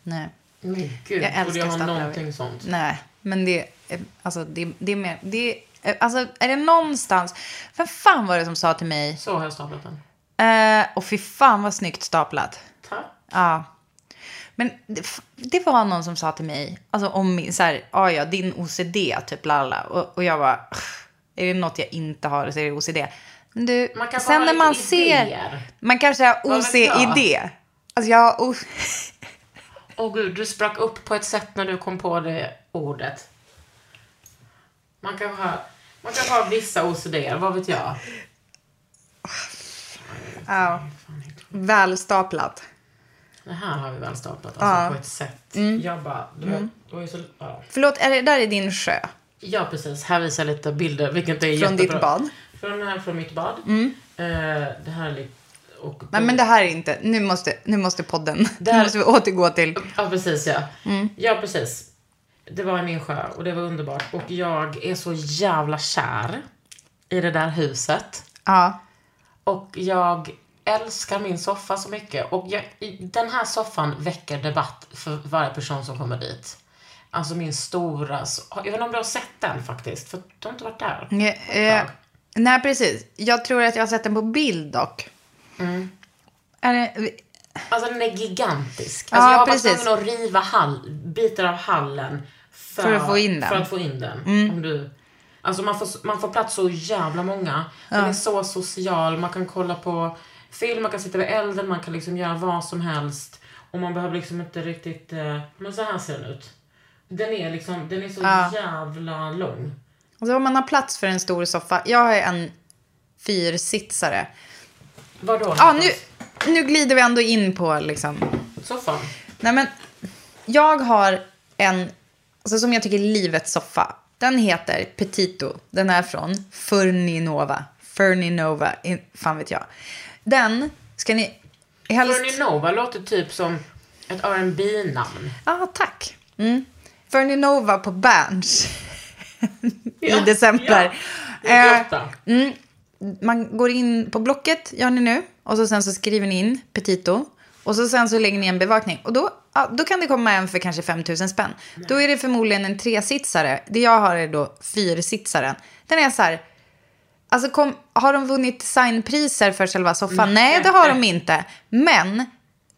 [SPEAKER 2] Nej.
[SPEAKER 1] Men gud,
[SPEAKER 2] Jag
[SPEAKER 1] borde jag
[SPEAKER 2] älskar
[SPEAKER 1] ha
[SPEAKER 2] staplar
[SPEAKER 1] någonting
[SPEAKER 2] ved.
[SPEAKER 1] sånt?
[SPEAKER 2] Nej, men det, är- alltså, det, det är mer, det, är- alltså är det någonstans, vem fan var det som sa till mig,
[SPEAKER 1] Så har jag staplat den.
[SPEAKER 2] eh, och fy fan vad snyggt staplat.
[SPEAKER 1] Tack.
[SPEAKER 2] Ja. Men det, f- det var någon som sa till mig, alltså om min, så här, ja ja, din OCD, typ lalla. Och, och jag bara, är det något jag inte har så är det OCD. Men du,
[SPEAKER 1] Man kan bara
[SPEAKER 2] sen
[SPEAKER 1] ha
[SPEAKER 2] när
[SPEAKER 1] lite
[SPEAKER 2] man ser,
[SPEAKER 1] idéer.
[SPEAKER 2] man kanske har
[SPEAKER 1] Vad vet jag?
[SPEAKER 2] OCD. Alltså jag har o-
[SPEAKER 1] Åh gud, du sprack upp på ett sätt när du kom på det ordet. Man kan ha, man kan ha vissa OCD, vad vet jag?
[SPEAKER 2] ja, välstaplat.
[SPEAKER 1] Det här har vi väl staplat alltså, på ett sätt.
[SPEAKER 2] Mm.
[SPEAKER 1] Jag bara, du vet, det var ju så... Ja.
[SPEAKER 2] Förlåt, är det där är din sjö?
[SPEAKER 1] ja, precis. Här visar jag lite bilder, vilket är
[SPEAKER 2] Från
[SPEAKER 1] jättebra.
[SPEAKER 2] ditt bad? Mm.
[SPEAKER 1] Från, här, från mitt bad. Eh, det här är lite... Och,
[SPEAKER 2] Nej, men det här är inte, nu måste, nu måste podden, nu måste vi återgå till.
[SPEAKER 1] Ja, precis ja. Ja, precis. Det var i min sjö och det var underbart. Och jag är så jävla kär i det där huset.
[SPEAKER 2] Ja,
[SPEAKER 1] Och jag älskar min soffa så mycket. Och jag, i- den här soffan väcker debatt för varje person som kommer dit. Alltså min stora... s- Jag vet inte om du har sett den faktiskt, för du har inte varit där.
[SPEAKER 2] Eh, eh, nej, precis. Jag tror att jag har sett den på bild dock. Är det,
[SPEAKER 1] Alltså den är gigantisk. Alltså,
[SPEAKER 2] Ja,
[SPEAKER 1] jag har
[SPEAKER 2] precis.
[SPEAKER 1] varit tvungen att riva hall, bitar av hallen för,
[SPEAKER 2] För att få in den. Mm.
[SPEAKER 1] För att få in den. Om du, alltså man får, man får plats så jävla många. Den är så social, man kan kolla på film, man kan sitta vid elden, man kan liksom göra vad som helst. Och man behöver liksom inte riktigt... Eh, men så här ser den ut. Den är liksom, den är så jävla lång.
[SPEAKER 2] alltså, om man har plats för en stor soffa. Jag har ju en fyrsitsare.
[SPEAKER 1] Vadå?
[SPEAKER 2] Ja, nu, nu glider vi ändå in på liksom.
[SPEAKER 1] Soffan?
[SPEAKER 2] Nej, men jag har en, alltså, som jag tycker är livets soffa. Den heter Petito. Den är från Furninova. Furninova, in- fan vet jag. Den ska ni Helst...
[SPEAKER 1] Fernie Nova låter typ som ett rb namn
[SPEAKER 2] Ja, Ah, tack. Mm. Fernie Nova på Berns i december.
[SPEAKER 1] Ja,
[SPEAKER 2] Eh, mm, man går in på Blocket, gör ni nu. Och så sen så skriver ni in Petito. Och så sen så lägger ni en bevakning. Och då, ja, då kan det komma en för kanske 5 000 spänn. Då är det förmodligen en tresitsare. Det jag har är då fyrsitsaren. Den är så här... Alltså kom, har de vunnit designpriser för själva
[SPEAKER 1] Mm.
[SPEAKER 2] soffan? Nej, det har de inte. Men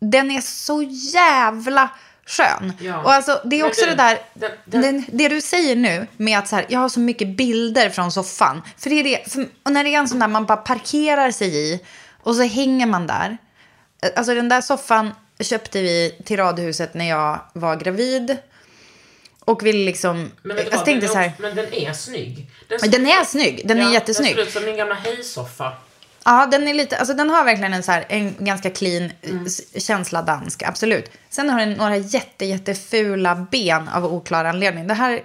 [SPEAKER 2] den är så jävla skön.
[SPEAKER 1] Ja.
[SPEAKER 2] Och alltså, det är
[SPEAKER 1] Men
[SPEAKER 2] också
[SPEAKER 1] du,
[SPEAKER 2] det där,
[SPEAKER 1] den-
[SPEAKER 2] den,
[SPEAKER 1] den-
[SPEAKER 2] det du säger nu med att så här, jag har så mycket bilder från soffan. För det är det, för, och när det är en sån där man bara parkerar sig i och så hänger man där. Eh, Alltså den där soffan köpte vi till radhuset när jag var gravid. Och ville liksom,
[SPEAKER 1] Men vet du
[SPEAKER 2] jag
[SPEAKER 1] vad,
[SPEAKER 2] tänkte
[SPEAKER 1] den är
[SPEAKER 2] så här,
[SPEAKER 1] också- Men den är snygg.
[SPEAKER 2] Men den är snygg. Den är jättesnygg.
[SPEAKER 1] Den ser ut som min gamla hejsoffa.
[SPEAKER 2] Ja, den är lite, alltså den har verkligen en, så här, en ganska clean
[SPEAKER 1] Mm.
[SPEAKER 2] s- känsla dansk, absolut. Sen har den några jätte, jättefula ben av oklar anledning. Det här, eh,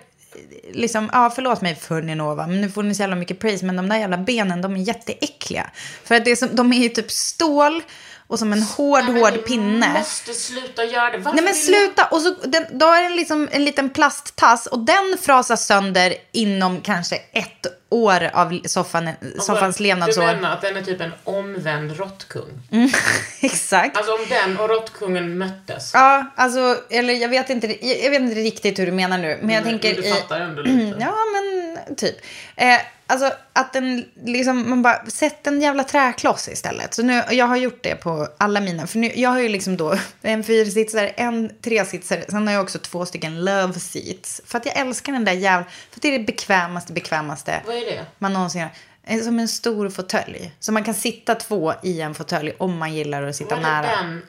[SPEAKER 2] liksom, ja förlåt mig Funinova, men nu får ni så jävla mycket praise, men de där jävla benen, de är jätteäckliga. För att det är som, de är ju typ stål och som en hård, hård pinne.
[SPEAKER 1] Måste sluta göra det. Varför
[SPEAKER 2] Nej men
[SPEAKER 1] vill
[SPEAKER 2] sluta! Och så, den, då är den liksom en liten plasttass och den frasas sönder inom kanske ett år av soffan,
[SPEAKER 1] du-
[SPEAKER 2] soffans levnadsår. Mm.
[SPEAKER 1] Du menar att den är typ en omvänd råttkung?
[SPEAKER 2] Exakt.
[SPEAKER 1] Alltså om den och råttkungen möttes.
[SPEAKER 2] Ja, alltså, eller jag vet, inte, jag vet inte riktigt hur du menar nu. Men jag
[SPEAKER 1] Men-
[SPEAKER 2] tänker...
[SPEAKER 1] men du
[SPEAKER 2] i-
[SPEAKER 1] fattar ändå lite.
[SPEAKER 2] Ja, men typ. Eh, alltså att den liksom, man bara, sätt en jävla träkloss istället. Så nu, jag har gjort det på alla mina. För nu, jag har ju liksom då en fyrsitsare, en tresitsare. Sen har jag också två stycken love seats. För att jag älskar den där jävla... För att det är det bekvämaste, bekvämaste
[SPEAKER 1] Vad är det?
[SPEAKER 2] man någonsin har. Eh, Som en stor fåtölj. Så man kan sitta två i en fåtölj om man gillar att sitta
[SPEAKER 1] Var det
[SPEAKER 2] nära.
[SPEAKER 1] den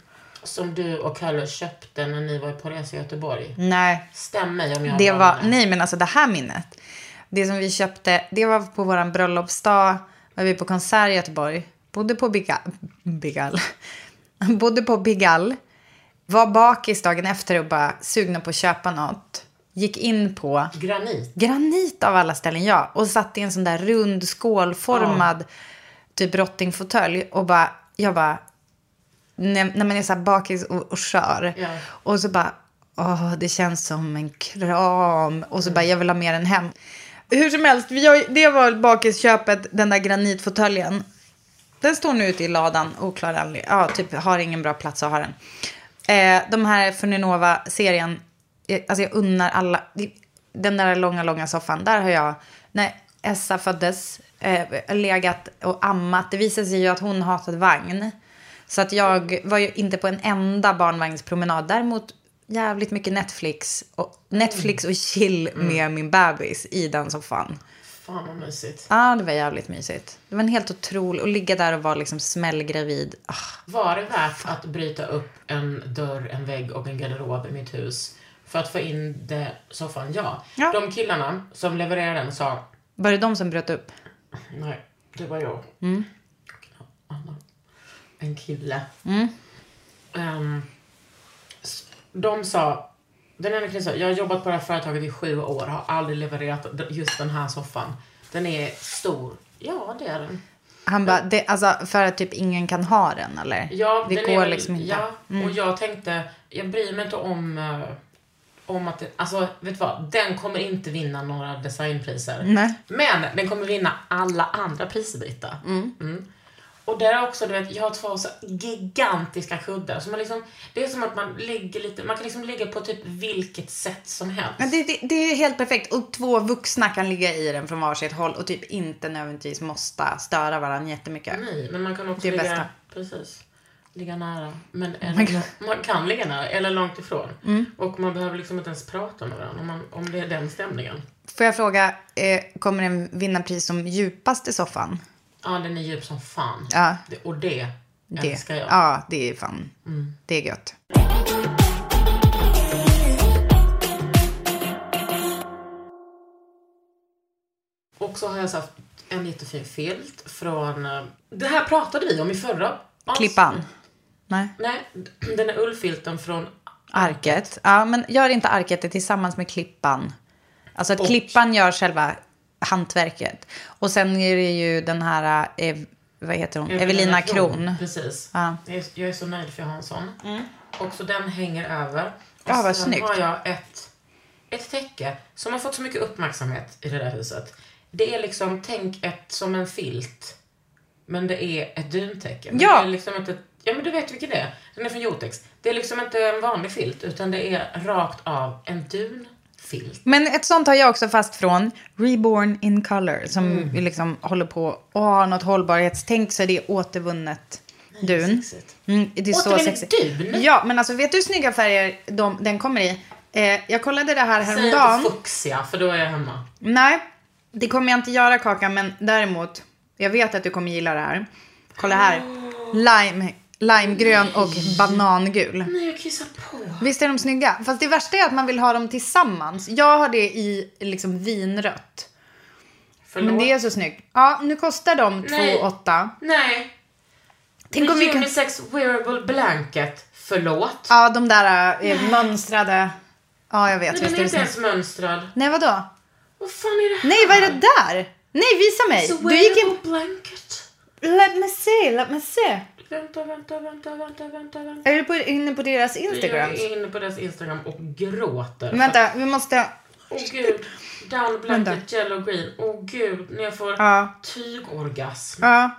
[SPEAKER 1] som du och Kalle köpte när ni var på resa i Göteborg?
[SPEAKER 2] Nej,
[SPEAKER 1] Stäm mig om jag har
[SPEAKER 2] Det var,
[SPEAKER 1] blandat.
[SPEAKER 2] nej men alltså det här minnet. Det som vi köpte, det var på våran bröllopsdag. Var vi på konsert i Göteborg. Bodde på Biga, Bigal. Bodde på Bigal. Var bakis dagen efter och bara sugna på att köpa något. Gick in på
[SPEAKER 1] Granit.
[SPEAKER 2] granit av alla ställen, ja. Och satt i en sån där rund skålformad typ rottingfåtölj och bara, jag bara, när, när man är så här bakis och, och skör.
[SPEAKER 1] Ja.
[SPEAKER 2] Och så bara, åh, det känns som en kram. Och så bara, jag vill ha med den hem. Hur som helst, vi har, ju- det var bakisköpet, den där granitfåtöljen. Den står nu ute i ladan, oklar anledning. Ja, typ har ingen bra plats att ha den. Eh, de här Funinova-serien, eh, alltså jag unnar alla. Den där långa, långa soffan, där har jag, när Essa föddes, eh, legat och ammat. Det visade sig ju att hon hatade vagn. Så att jag var ju inte på en enda barnvagnspromenad. Däremot jävligt mycket Netflix och, Netflix och chill med min bebis i den soffan.
[SPEAKER 1] Fan vad mysigt.
[SPEAKER 2] Ja, det var jävligt mysigt. Det var en helt otrolig... Att ligga där och vara liksom smällgravid. Ah,
[SPEAKER 1] Var det värt att bryta upp en dörr, en vägg och en garderob i mitt hus för att få in det soffan? Ja.
[SPEAKER 2] Ja.
[SPEAKER 1] De killarna som levererade den sa
[SPEAKER 2] var det de som bröt upp?
[SPEAKER 1] nej, det var jag. Och en annan- En kille. Ehm, s- de sa, den ena killen sa, jag har jobbat på det här företaget i sju år, har aldrig levererat d- just den här soffan. Den är stor. Ja, det är den.
[SPEAKER 2] Han bara, det, alltså för att typ ingen kan ha den eller?
[SPEAKER 1] Ja,
[SPEAKER 2] det
[SPEAKER 1] den
[SPEAKER 2] går
[SPEAKER 1] är väl-
[SPEAKER 2] liksom inte.
[SPEAKER 1] Ja, och jag tänkte, jag bryr mig inte om, eh, om att, det, alltså vet du vad, den kommer inte vinna några designpriser.
[SPEAKER 2] Nej.
[SPEAKER 1] Men den kommer vinna alla andra priser, Britta. Mm. Och där också, du vet, jag har två så gigantiska kuddar. Så man liksom, det är som att man ligger lite, man kan liksom ligga på typ vilket sätt som helst.
[SPEAKER 2] Men det, det, det är helt perfekt. Och två vuxna kan ligga i den från varsitt håll och typ inte nödvändigtvis måste störa varandra jättemycket.
[SPEAKER 1] Nej, men man kan också
[SPEAKER 2] Det är
[SPEAKER 1] ligga,
[SPEAKER 2] bästa. Oh
[SPEAKER 1] precis, ligga nära. Men
[SPEAKER 2] Man
[SPEAKER 1] man,
[SPEAKER 2] kan-
[SPEAKER 1] kan... man kan ligga nära, eller långt ifrån.
[SPEAKER 2] Mm.
[SPEAKER 1] Och man behöver liksom inte ens prata med varandra om, man, om det är den stämningen.
[SPEAKER 2] Får jag fråga, eh, kommer den vinna pris som djupaste soffan?
[SPEAKER 1] Ja, den är djup som fan.
[SPEAKER 2] Ja.
[SPEAKER 1] Det- Och det,
[SPEAKER 2] Det.
[SPEAKER 1] älskar jag. Mm.
[SPEAKER 2] Ja, det är fan. Det är gött.
[SPEAKER 1] Och så har jag satt en jättefin filt från... eh, Det här pratade vi om i förra. avs-
[SPEAKER 2] Klippan? Nej.
[SPEAKER 1] Nej, den är ullfilten från...
[SPEAKER 2] Arket. Ja, men gör inte arket det tillsammans med klippan. Alltså att klippan gör själva hantverket. Och sen är det ju den här eh, vad heter hon? Evelina Kron. Mm.
[SPEAKER 1] Precis.
[SPEAKER 2] Ja.
[SPEAKER 1] Jag är- Jag är så nöjd för jag har en sån. Och så den hänger över. Och
[SPEAKER 2] Ja, vad
[SPEAKER 1] sen
[SPEAKER 2] snyggt.
[SPEAKER 1] har jag ett, ett täcke som har fått så mycket uppmärksamhet i det där huset. Det är liksom, tänk ett som en filt. Men det är ett duntäcke. Men
[SPEAKER 2] Ja.
[SPEAKER 1] Det är liksom inte, ja men du vet vilken det är. Den är från Jotex. Det är liksom inte en vanlig filt utan det är rakt av en dunfilt.
[SPEAKER 2] Men ett sånt har jag också fast från Reborn in Color som
[SPEAKER 1] Mm.
[SPEAKER 2] liksom håller på och har något hållbarhetstänk så det är återvunnet dun.
[SPEAKER 1] sexigt.
[SPEAKER 2] Mm, det är så
[SPEAKER 1] Återvinning
[SPEAKER 2] sexigt.
[SPEAKER 1] dun?
[SPEAKER 2] Ja, men alltså vet du hur snygga färger de, den kommer i? Eh, jag kollade det här
[SPEAKER 1] Säg inte
[SPEAKER 2] häromdagen.
[SPEAKER 1] fuxia för då är jag hemma.
[SPEAKER 2] Nej, det kommer jag inte göra Kakan, men däremot, jag vet att du kommer gilla det här. Kolla här. Lime, limegrön och banangul.
[SPEAKER 1] Nej jag kissar på.
[SPEAKER 2] Visst är de snygga? Fast det värsta är att man vill ha dem tillsammans. Jag har det i liksom vinrött.
[SPEAKER 1] Förlåt.
[SPEAKER 2] Men det är så snyggt. Ja, nu kostar de
[SPEAKER 1] Nej.
[SPEAKER 2] 2,8.
[SPEAKER 1] Nej.
[SPEAKER 2] Tänk om vi kan...
[SPEAKER 1] Unisex wearable blanket. Förlåt.
[SPEAKER 2] Ja, de där eh, mönstrade. Ja, jag vet.
[SPEAKER 1] Nej,
[SPEAKER 2] visst
[SPEAKER 1] den
[SPEAKER 2] är
[SPEAKER 1] är
[SPEAKER 2] det
[SPEAKER 1] inte ens
[SPEAKER 2] snyggt.
[SPEAKER 1] mönstrad.
[SPEAKER 2] Nej, vadå?
[SPEAKER 1] Vad fan är det här?
[SPEAKER 2] Nej, vad är det där? Nej, visa mig.
[SPEAKER 1] It's a
[SPEAKER 2] Du gick in...
[SPEAKER 1] wearable blanket.
[SPEAKER 2] Let me see, let me see.
[SPEAKER 1] Vänta, vänta, vänta, vänta, vänta, vänta.
[SPEAKER 2] Är du på, inne på deras Instagram?
[SPEAKER 1] Jag är inne på deras Instagram och gråter.
[SPEAKER 2] Men Vänta, vi måste...
[SPEAKER 1] Åh gud. Down blanket,
[SPEAKER 2] Vänta.
[SPEAKER 1] yellow green. Åh gud, när jag får
[SPEAKER 2] Ja.
[SPEAKER 1] tygorgasm.
[SPEAKER 2] Ja.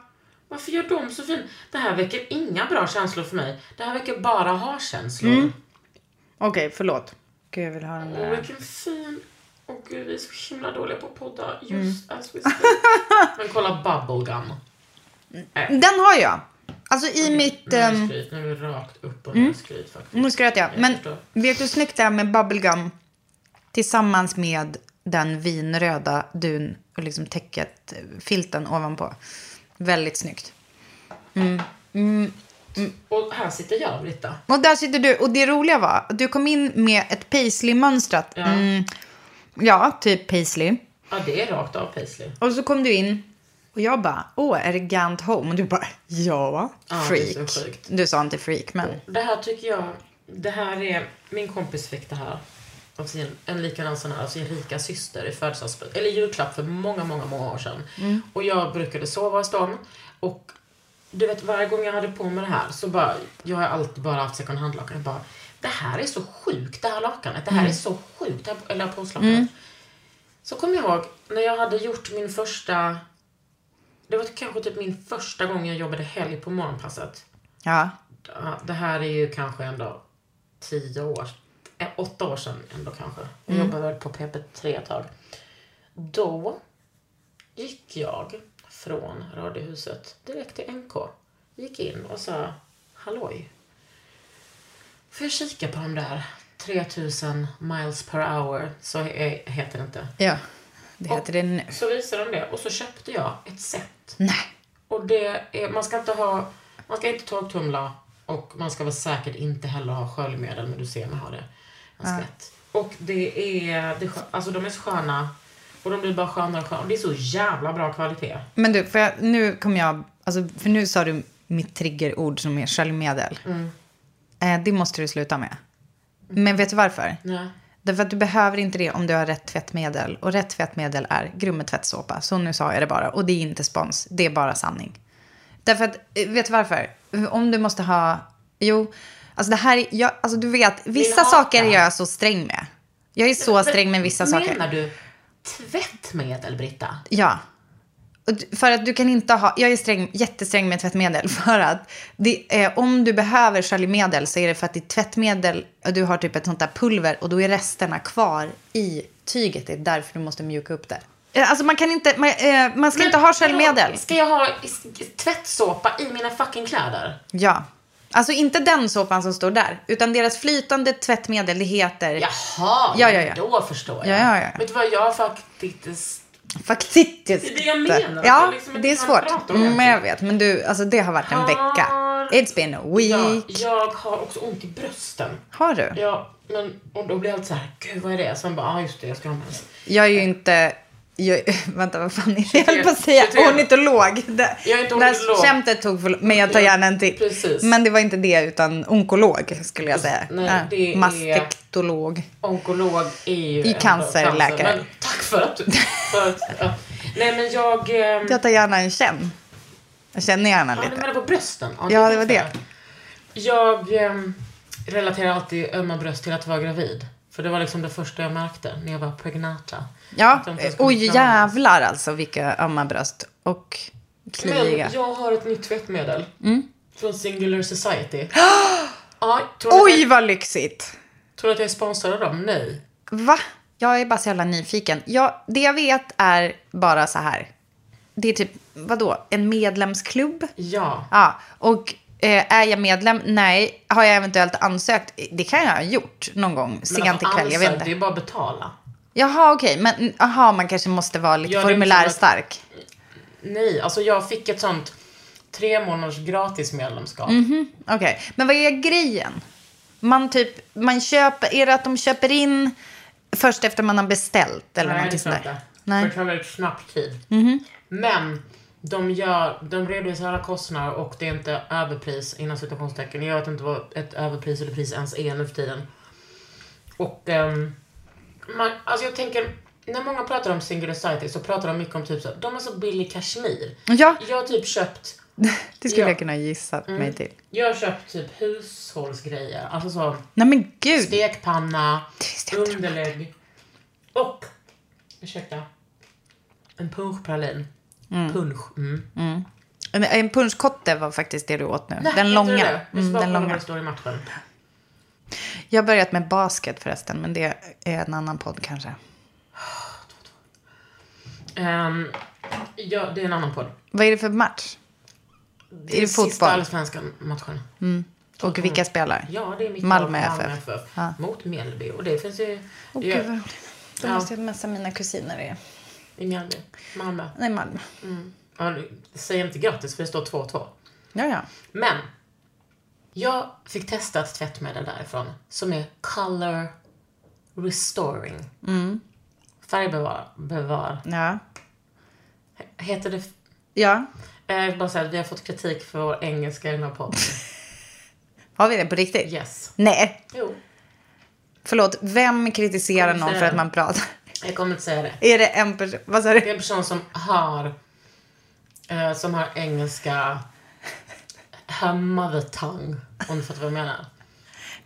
[SPEAKER 1] Varför gör de så fin? Det här väcker inga bra känslor för mig. Det här väcker bara ha-känslor.
[SPEAKER 2] Mm. Okej, förlåt. Gud, jag vill ha den
[SPEAKER 1] Åh,
[SPEAKER 2] där.
[SPEAKER 1] vilken fin... Åh gud, vi är så himla dåliga på att podda just
[SPEAKER 2] Mm.
[SPEAKER 1] as we speak. Men kolla bubblegum.
[SPEAKER 2] Den har jag. Alltså i mitt...
[SPEAKER 1] Nu är det
[SPEAKER 2] ehm, Mm.
[SPEAKER 1] skryt, nu är det rakt upp och nu är det skryt faktiskt.
[SPEAKER 2] Nu skröt jag. Men
[SPEAKER 1] förstår.
[SPEAKER 2] vet du hur snyggt det är med bubblegum tillsammans med den vinröda dun och liksom täcket, eh, filten ovanpå. Väldigt snyggt.
[SPEAKER 1] Och här sitter jag, Britta.
[SPEAKER 2] Och där sitter du. Och det roliga var att du kom in med ett paisley-mönstrat. Ja. Mm, ja, typ paisley.
[SPEAKER 1] Ja, det är rakt av Paisley.
[SPEAKER 2] Och så kom du in och jag bara, åh, elegant home. Och du bara, ja,
[SPEAKER 1] Ja, det är så
[SPEAKER 2] freak.
[SPEAKER 1] sjukt. Mm.
[SPEAKER 2] du sa inte freak, men.
[SPEAKER 1] Det här tycker jag, det här är, min kompis fick det här av sin, en likadan sån här, av sin rika syster i födelsedagspresent, eller julklapp för många, många, många år sedan. Och jag brukade sova hos dem och du vet varje gång jag hade på mig det här så bara, jag har alltid bara haft second hand-lakan, Jag bara, det här är så sjukt det här lakanet, det här är så sjukt, det här, eller påslakanet. Så kommer jag ihåg när jag hade gjort min första, det var kanske typ min första gång jag jobbade helg på morgonpasset.
[SPEAKER 2] Ja,
[SPEAKER 1] Ja, det här är ju kanske ändå tio år, eh, åtta år sedan ändå kanske. Jag jobbade väl på PP3 ett tag. Då gick jag från Radiohuset direkt till NK. Gick in och sa halloj. Får jag kika på de där 3000 miles per hour, så he- heter det inte.
[SPEAKER 2] ja. Det heter det nu.
[SPEAKER 1] Så visade de det och så köpte jag ett set.
[SPEAKER 2] Nej.
[SPEAKER 1] Och det är, man ska inte ha, man ska inte torktumla och man ska väl säkert inte heller ha sköljmedel, men du ser mig ha det. En skvätt. Och det är, det, är skö- alltså de är så sköna och de blir bara skönare och skönare. Och det är så jävla bra kvalitet.
[SPEAKER 2] Men du, för jag, nu kommer jag... Alltså, för nu sa du mitt triggerord som är sköljmedel.
[SPEAKER 1] Mm.
[SPEAKER 2] Eh, det måste du sluta med. Men vet du varför?
[SPEAKER 1] Nej.
[SPEAKER 2] Därför att du behöver inte det om du har rätt tvättmedel. Och rätt tvättmedel är grummetvättsåpa. Så nu sa jag det bara. Och det är inte spons. Det är bara sanning. Därför att, eh, vet du varför? Om du måste ha... Jo, alltså det här är... Jag, alltså du vet, vissa
[SPEAKER 1] haka.
[SPEAKER 2] saker är jag så sträng med. Jag är så sträng med vissa
[SPEAKER 1] Menar
[SPEAKER 2] saker.
[SPEAKER 1] Menar du tvättmedel, Britta?
[SPEAKER 2] Ja. Och d- För att du kan inte ha... Jag är sträng, jättesträng med tvättmedel. För att det är, om du behöver sköljmedel så är det för att ditt tvättmedel... Du har typ ett sånt där pulver och då är resterna kvar i tyget. Det är därför du måste mjuka upp det. Eh, Alltså man kan inte... Man, eh, man ska inte ha sköljmedel.
[SPEAKER 1] Ska jag ha s- tvättsåpa i mina fucking kläder?
[SPEAKER 2] Ja. Alltså inte den såpan som står där. Utan deras flytande tvättmedel, det heter...
[SPEAKER 1] Jaha,
[SPEAKER 2] Ja, ja, ja.
[SPEAKER 1] då förstår jag.
[SPEAKER 2] Ja, ja, ja, ja.
[SPEAKER 1] Vet du vad jag faktiskt
[SPEAKER 2] Faktiskt. Det
[SPEAKER 1] är det jag menar, att
[SPEAKER 2] Ja,
[SPEAKER 1] jag liksom inte
[SPEAKER 2] det är
[SPEAKER 1] kan
[SPEAKER 2] svårt.
[SPEAKER 1] prata om det.
[SPEAKER 2] Men jag vet. Men du, alltså det har varit en vecka.
[SPEAKER 1] Har-
[SPEAKER 2] It's been a week.
[SPEAKER 1] Ja, jag har också ont i brösten.
[SPEAKER 2] Har du?
[SPEAKER 1] Ja, men och då blir jag alltid så här, gud vad är det? Sen bara, ja ah, just det, jag ska ha med det."
[SPEAKER 2] Jag är ju inte... Jag, vänta, vad fan är det? Jag höll på
[SPEAKER 1] 21,
[SPEAKER 2] att säga
[SPEAKER 1] 21.
[SPEAKER 2] ornitolog. Det,
[SPEAKER 1] Jag är inte
[SPEAKER 2] det här
[SPEAKER 1] ornitolog.
[SPEAKER 2] skämtet tog för Men jag tar
[SPEAKER 1] Ja,
[SPEAKER 2] gärna en till.
[SPEAKER 1] precis.
[SPEAKER 2] Men det var inte det, utan onkolog skulle jag säga.
[SPEAKER 1] Nej,
[SPEAKER 2] Ja,
[SPEAKER 1] det är-
[SPEAKER 2] Mastektolog.
[SPEAKER 1] Onkolog är ju... ändå
[SPEAKER 2] cancerläkare.
[SPEAKER 1] cancer, men Tack för att du... För att, ja. Nej men jag... ehm,
[SPEAKER 2] Jag tar gärna en känn. Jag känner ju henne
[SPEAKER 1] Ja, du
[SPEAKER 2] lite.
[SPEAKER 1] menar på brösten?
[SPEAKER 2] Ja,
[SPEAKER 1] är
[SPEAKER 2] det var det.
[SPEAKER 1] därför. Jag ehm, relaterar alltid ömma bröst till att vara gravid. För det var liksom det första jag märkte när jag var pregnata.
[SPEAKER 2] Ja,
[SPEAKER 1] Att de inte ens kunde
[SPEAKER 2] oj
[SPEAKER 1] kramas.
[SPEAKER 2] jävlar alltså vilka ömma bröst och
[SPEAKER 1] Men
[SPEAKER 2] kliiga.
[SPEAKER 1] jag har ett nytt tvättmedel.
[SPEAKER 2] Mm.
[SPEAKER 1] Från Singular Society. ja, tror, att
[SPEAKER 2] Oj
[SPEAKER 1] jag,
[SPEAKER 2] vad lyxigt!
[SPEAKER 1] tror att jag är sponsrad av dem? Nej.
[SPEAKER 2] Va? Jag är bara så jävla nyfiken. Jag, det jag vet är bara så här. Det är typ, vadå, en medlemsklubb?
[SPEAKER 1] Ja.
[SPEAKER 2] Ja, och eh, är jag medlem? Nej. Har jag eventuellt ansökt? Det kan jag ha gjort någon gång sent
[SPEAKER 1] alltså,
[SPEAKER 2] ikväll, jag vet
[SPEAKER 1] ansök, Det
[SPEAKER 2] inte.
[SPEAKER 1] är bara att betala.
[SPEAKER 2] Jaha, okej, men aha, man kanske måste vara lite
[SPEAKER 1] Ja, det är inte som att-
[SPEAKER 2] formulärstark.
[SPEAKER 1] Nej, alltså jag fick ett sånt tre månaders gratis medlemskap.
[SPEAKER 2] Okej, men vad är grejen? Man typ, man köper, är det att de köper in först efter man har beställt
[SPEAKER 1] Nej, det
[SPEAKER 2] eller någonting
[SPEAKER 1] tror jag
[SPEAKER 2] sånt
[SPEAKER 1] inte.
[SPEAKER 2] där?
[SPEAKER 1] För
[SPEAKER 2] Nej, Mhm.
[SPEAKER 1] det tar väldigt snabb tid. Men de, gör, de redovisar alla kostnader och det är inte överpris inom situationstecken. Jag vet inte vad ett överpris eller pris ens är nu för tiden. Och ehm, man, alltså jag tänker, när många pratar om singular society så pratar de mycket om typ så här, de är så billig kashmir.
[SPEAKER 2] Ja.
[SPEAKER 1] Jag har typ köpt
[SPEAKER 2] det skulle
[SPEAKER 1] Ja. Mm.
[SPEAKER 2] jag kunna gissa mig till.
[SPEAKER 1] jag har köpt typ hushållsgrejer, alltså så
[SPEAKER 2] Nej men gud!
[SPEAKER 1] stekpanna,
[SPEAKER 2] visste jag inte.
[SPEAKER 1] underlägg och, ursäkta, en punschpralin. Punsch. Mm.
[SPEAKER 2] En, en punschkotte var faktiskt det du åt nu.
[SPEAKER 1] Nej,
[SPEAKER 2] den
[SPEAKER 1] jag tror
[SPEAKER 2] långa.
[SPEAKER 1] det. Vi ska
[SPEAKER 2] Mm,
[SPEAKER 1] bara
[SPEAKER 2] den
[SPEAKER 1] kolla
[SPEAKER 2] långa.
[SPEAKER 1] vad det står i matchen.
[SPEAKER 2] Jag har börjat med basket förresten, men det är en annan podd kanske.
[SPEAKER 1] Ehm, ja, det är en annan podd.
[SPEAKER 2] Vad är det för match?
[SPEAKER 1] Det är,
[SPEAKER 2] det
[SPEAKER 1] sista
[SPEAKER 2] fotboll?
[SPEAKER 1] allsvenska matchen.
[SPEAKER 2] Och vilka spelar?
[SPEAKER 1] Mm. Ja, det är mitt
[SPEAKER 2] Malmö
[SPEAKER 1] lag, Malmö
[SPEAKER 2] FF.
[SPEAKER 1] FF. Mot Mjällby. Och det finns ju...
[SPEAKER 2] Åh
[SPEAKER 1] det är-
[SPEAKER 2] gud, då
[SPEAKER 1] Ja.
[SPEAKER 2] måste jag messa mina kusiner i,
[SPEAKER 1] I Mjällby. Malmö.
[SPEAKER 2] nej, Malmö.
[SPEAKER 1] Ja, nu- Säg inte grattis för det står 2-2.
[SPEAKER 2] Ja, ja.
[SPEAKER 1] Men. Jag fick testa ett tvättmedel därifrån. Som är color restoring. Mm. Färgbevar. Bevar.
[SPEAKER 2] Ja.
[SPEAKER 1] Heter det...
[SPEAKER 2] ja.
[SPEAKER 1] eh, Jag vill bara säga att vi har fått kritik för vår engelska i den här podden.
[SPEAKER 2] Har vi det på riktigt?
[SPEAKER 1] Yes.
[SPEAKER 2] Nej,
[SPEAKER 1] Jo.
[SPEAKER 2] förlåt. Vem kritiserar
[SPEAKER 1] Kom
[SPEAKER 2] någon för
[SPEAKER 1] sen.
[SPEAKER 2] att man pratar?
[SPEAKER 1] Jag kommer inte säga det.
[SPEAKER 2] Är det en person? Vad sa
[SPEAKER 1] Det
[SPEAKER 2] du?
[SPEAKER 1] är en person som har eh, som har engelska her mother tongue, om du fattar vad jag menar.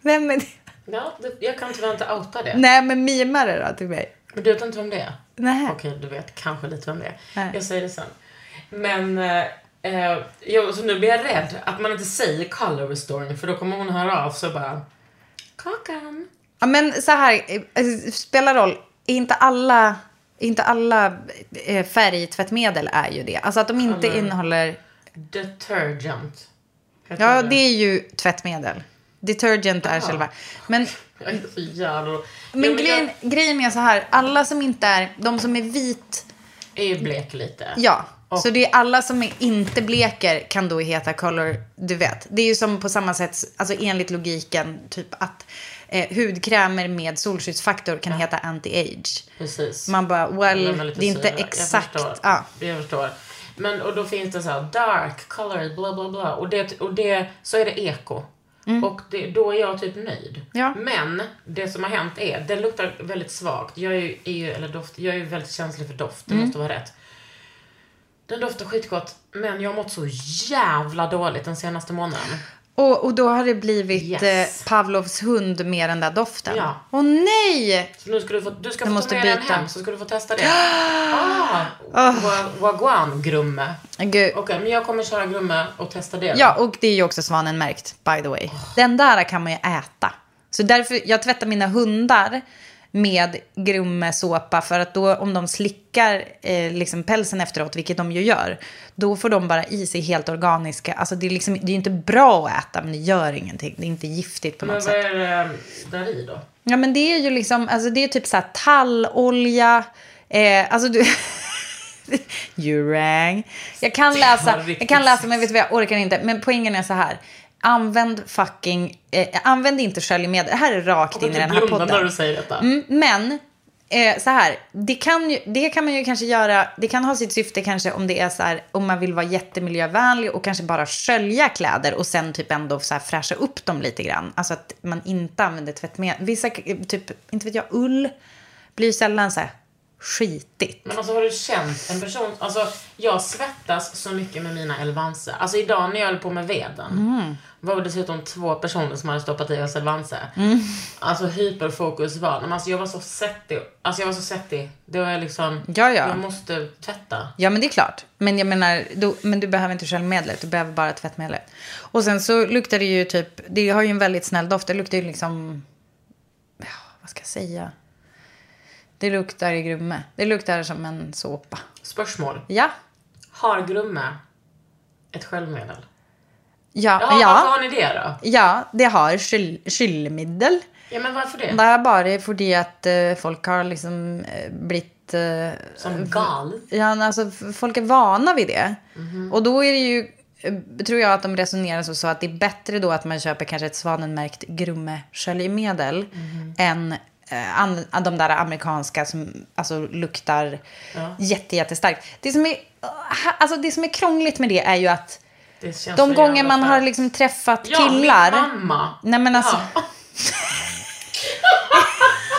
[SPEAKER 2] Vem är det?
[SPEAKER 1] Ja, det, jag kan tyvärr inte outa det.
[SPEAKER 2] Nej, men mimar det då till mig?
[SPEAKER 1] Men du vet inte vem det är?
[SPEAKER 2] Nej.
[SPEAKER 1] Okej, du vet kanske lite vem det är.
[SPEAKER 2] Nej.
[SPEAKER 1] Jag säger det sen. Men eh, eh, jag, så nu blir jag rädd att man inte säger color restoring för då kommer hon höra av sig och bara Kakan.
[SPEAKER 2] Ja, men så här, eh, alltså, spelar roll. Är Inte alla, inte alla eh, färgtvättmedel är ju det. Alltså att de inte innehåller...
[SPEAKER 1] Detergent. heter
[SPEAKER 2] Ja, det är ju tvättmedel. Detergent är själva. Men,
[SPEAKER 1] Jag är så jävla... Ja,
[SPEAKER 2] men
[SPEAKER 1] jag
[SPEAKER 2] grejen, grejen är så här, alla som inte är... De som är vit...
[SPEAKER 1] är ju blek lite.
[SPEAKER 2] Ja,
[SPEAKER 1] Och-
[SPEAKER 2] så det är alla som är inte bleker kan då heta color, du vet. Det är ju som på samma sätt, alltså enligt logiken, typ att eh, hudkrämer med solskyddsfaktor kan heta anti-age.
[SPEAKER 1] Precis.
[SPEAKER 2] Man bara,
[SPEAKER 1] Lämna
[SPEAKER 2] well,
[SPEAKER 1] lite
[SPEAKER 2] det är inte
[SPEAKER 1] syre.
[SPEAKER 2] exakt.
[SPEAKER 1] Jag förstår.
[SPEAKER 2] Ja.
[SPEAKER 1] Jag förstår. Men, och då finns det så här dark color, bla bla bla. Och, det, och det, så är det eko. Och det, då är jag typ nöjd.
[SPEAKER 2] Mm. Ja.
[SPEAKER 1] Men det som har hänt är, den luktar väldigt svagt. Jag är ju, är ju, eller doft, jag är ju väldigt känslig för doft,
[SPEAKER 2] Mm.
[SPEAKER 1] det måste vara rätt. Den doftar skitgott, men jag har mått så jävla dåligt den senaste månaden.
[SPEAKER 2] Och, och då har det blivit
[SPEAKER 1] Yes.
[SPEAKER 2] eh, Pavlovs hund med den där doften.
[SPEAKER 1] Ja.
[SPEAKER 2] Åh nej!
[SPEAKER 1] Så nu ska du få, du ska
[SPEAKER 2] Jag
[SPEAKER 1] få
[SPEAKER 2] måste
[SPEAKER 1] ta med den
[SPEAKER 2] byta.
[SPEAKER 1] hem, så ska du få testa det. ah, oh. Wagwan grumme.
[SPEAKER 2] Gud.
[SPEAKER 1] Okej, men jag kommer köra grumme och testa det.
[SPEAKER 2] Ja, och det är ju också svanenmärkt, by the way. Den där kan man ju äta. Så därför, jag tvättar mina hundar med Grumme såpa för att då om de slickar eh, liksom pälsen efteråt, vilket de ju gör, då får de bara i sig helt organiska, alltså det är, liksom, det är ju inte bra att äta men det gör ingenting, det är inte giftigt på
[SPEAKER 1] Men
[SPEAKER 2] något
[SPEAKER 1] vad
[SPEAKER 2] sätt.
[SPEAKER 1] är det eh, där i då?
[SPEAKER 2] Ja men det är ju liksom, alltså det är typ såhär tallolja, eh, alltså du... Jurang. Jag kan läsa,
[SPEAKER 1] var
[SPEAKER 2] jag
[SPEAKER 1] riktigt
[SPEAKER 2] kan läsa men vet du vad jag orkar inte. Men poängen är så här. Använd fucking, eh, använd inte sköljmedel. Det här är rakt in i den här
[SPEAKER 1] blunda när du
[SPEAKER 2] podden.
[SPEAKER 1] säger detta.
[SPEAKER 2] Mm, men, eh, så här, det kan, ju, det kan man ju kanske göra, det kan ha sitt syfte kanske om det är så här, om man vill vara jättemiljövänlig och kanske bara skölja kläder och sen typ ändå så här fräscha upp dem lite grann. Alltså att man inte använder tvättmedel. Vissa, eh, typ, inte vet jag, ull blir ju sällan så här skitigt.
[SPEAKER 1] Men alltså har du känt en person, alltså jag svettas så mycket med mina Elvanse. Alltså idag när jag höll på med veden
[SPEAKER 2] Mm.
[SPEAKER 1] var det dessutom två personer som hade stoppat i oss Elvanse.
[SPEAKER 2] Mm.
[SPEAKER 1] Alltså hyperfokus var, men alltså jag var så svettig, alltså jag var så svettig. Det var liksom,
[SPEAKER 2] Ja, ja.
[SPEAKER 1] jag måste tvätta.
[SPEAKER 2] Ja, men det är klart. Men jag menar, du, men du behöver inte sköljmedlet, du behöver bara tvättmedlet. Och sen så luktar det ju typ, det har ju en väldigt snäll doft. Det luktar ju liksom, ja, vad ska jag säga? Det luktar i grumme. Det luktar som en såpa.
[SPEAKER 1] Spörsmål.
[SPEAKER 2] Ja,
[SPEAKER 1] Har Grumme ett sköljmedel?
[SPEAKER 2] ja,
[SPEAKER 1] Jaha, varför har ni
[SPEAKER 2] ja.
[SPEAKER 1] det då?
[SPEAKER 2] Ja, det har kyl, kylmiddel.
[SPEAKER 1] Ja men varför det?
[SPEAKER 2] Det er bare fordi at eh, folk har liksom eh, blitt eh,
[SPEAKER 1] Som gal.
[SPEAKER 2] Ja, men alltså, f- folk är vana vid det.
[SPEAKER 1] Mhm.
[SPEAKER 2] Och då är det ju, eh, tror jag att de resonerar så, så att det är bättre då att man köper kanske ett svanenmärkt grumme-sköljmedel
[SPEAKER 1] Mhm.
[SPEAKER 2] än eh, an, att de där amerikanska som alltså, luktar jätte, jättestarkt. Det som, är, ha- alltså, det som är krångligt med det är ju att
[SPEAKER 1] Det känns
[SPEAKER 2] de
[SPEAKER 1] så
[SPEAKER 2] gånger
[SPEAKER 1] jävla
[SPEAKER 2] man har
[SPEAKER 1] starkt.
[SPEAKER 2] liksom träffat
[SPEAKER 1] Ja,
[SPEAKER 2] killar.
[SPEAKER 1] min mamma.
[SPEAKER 2] Nej men alltså.
[SPEAKER 1] Ja.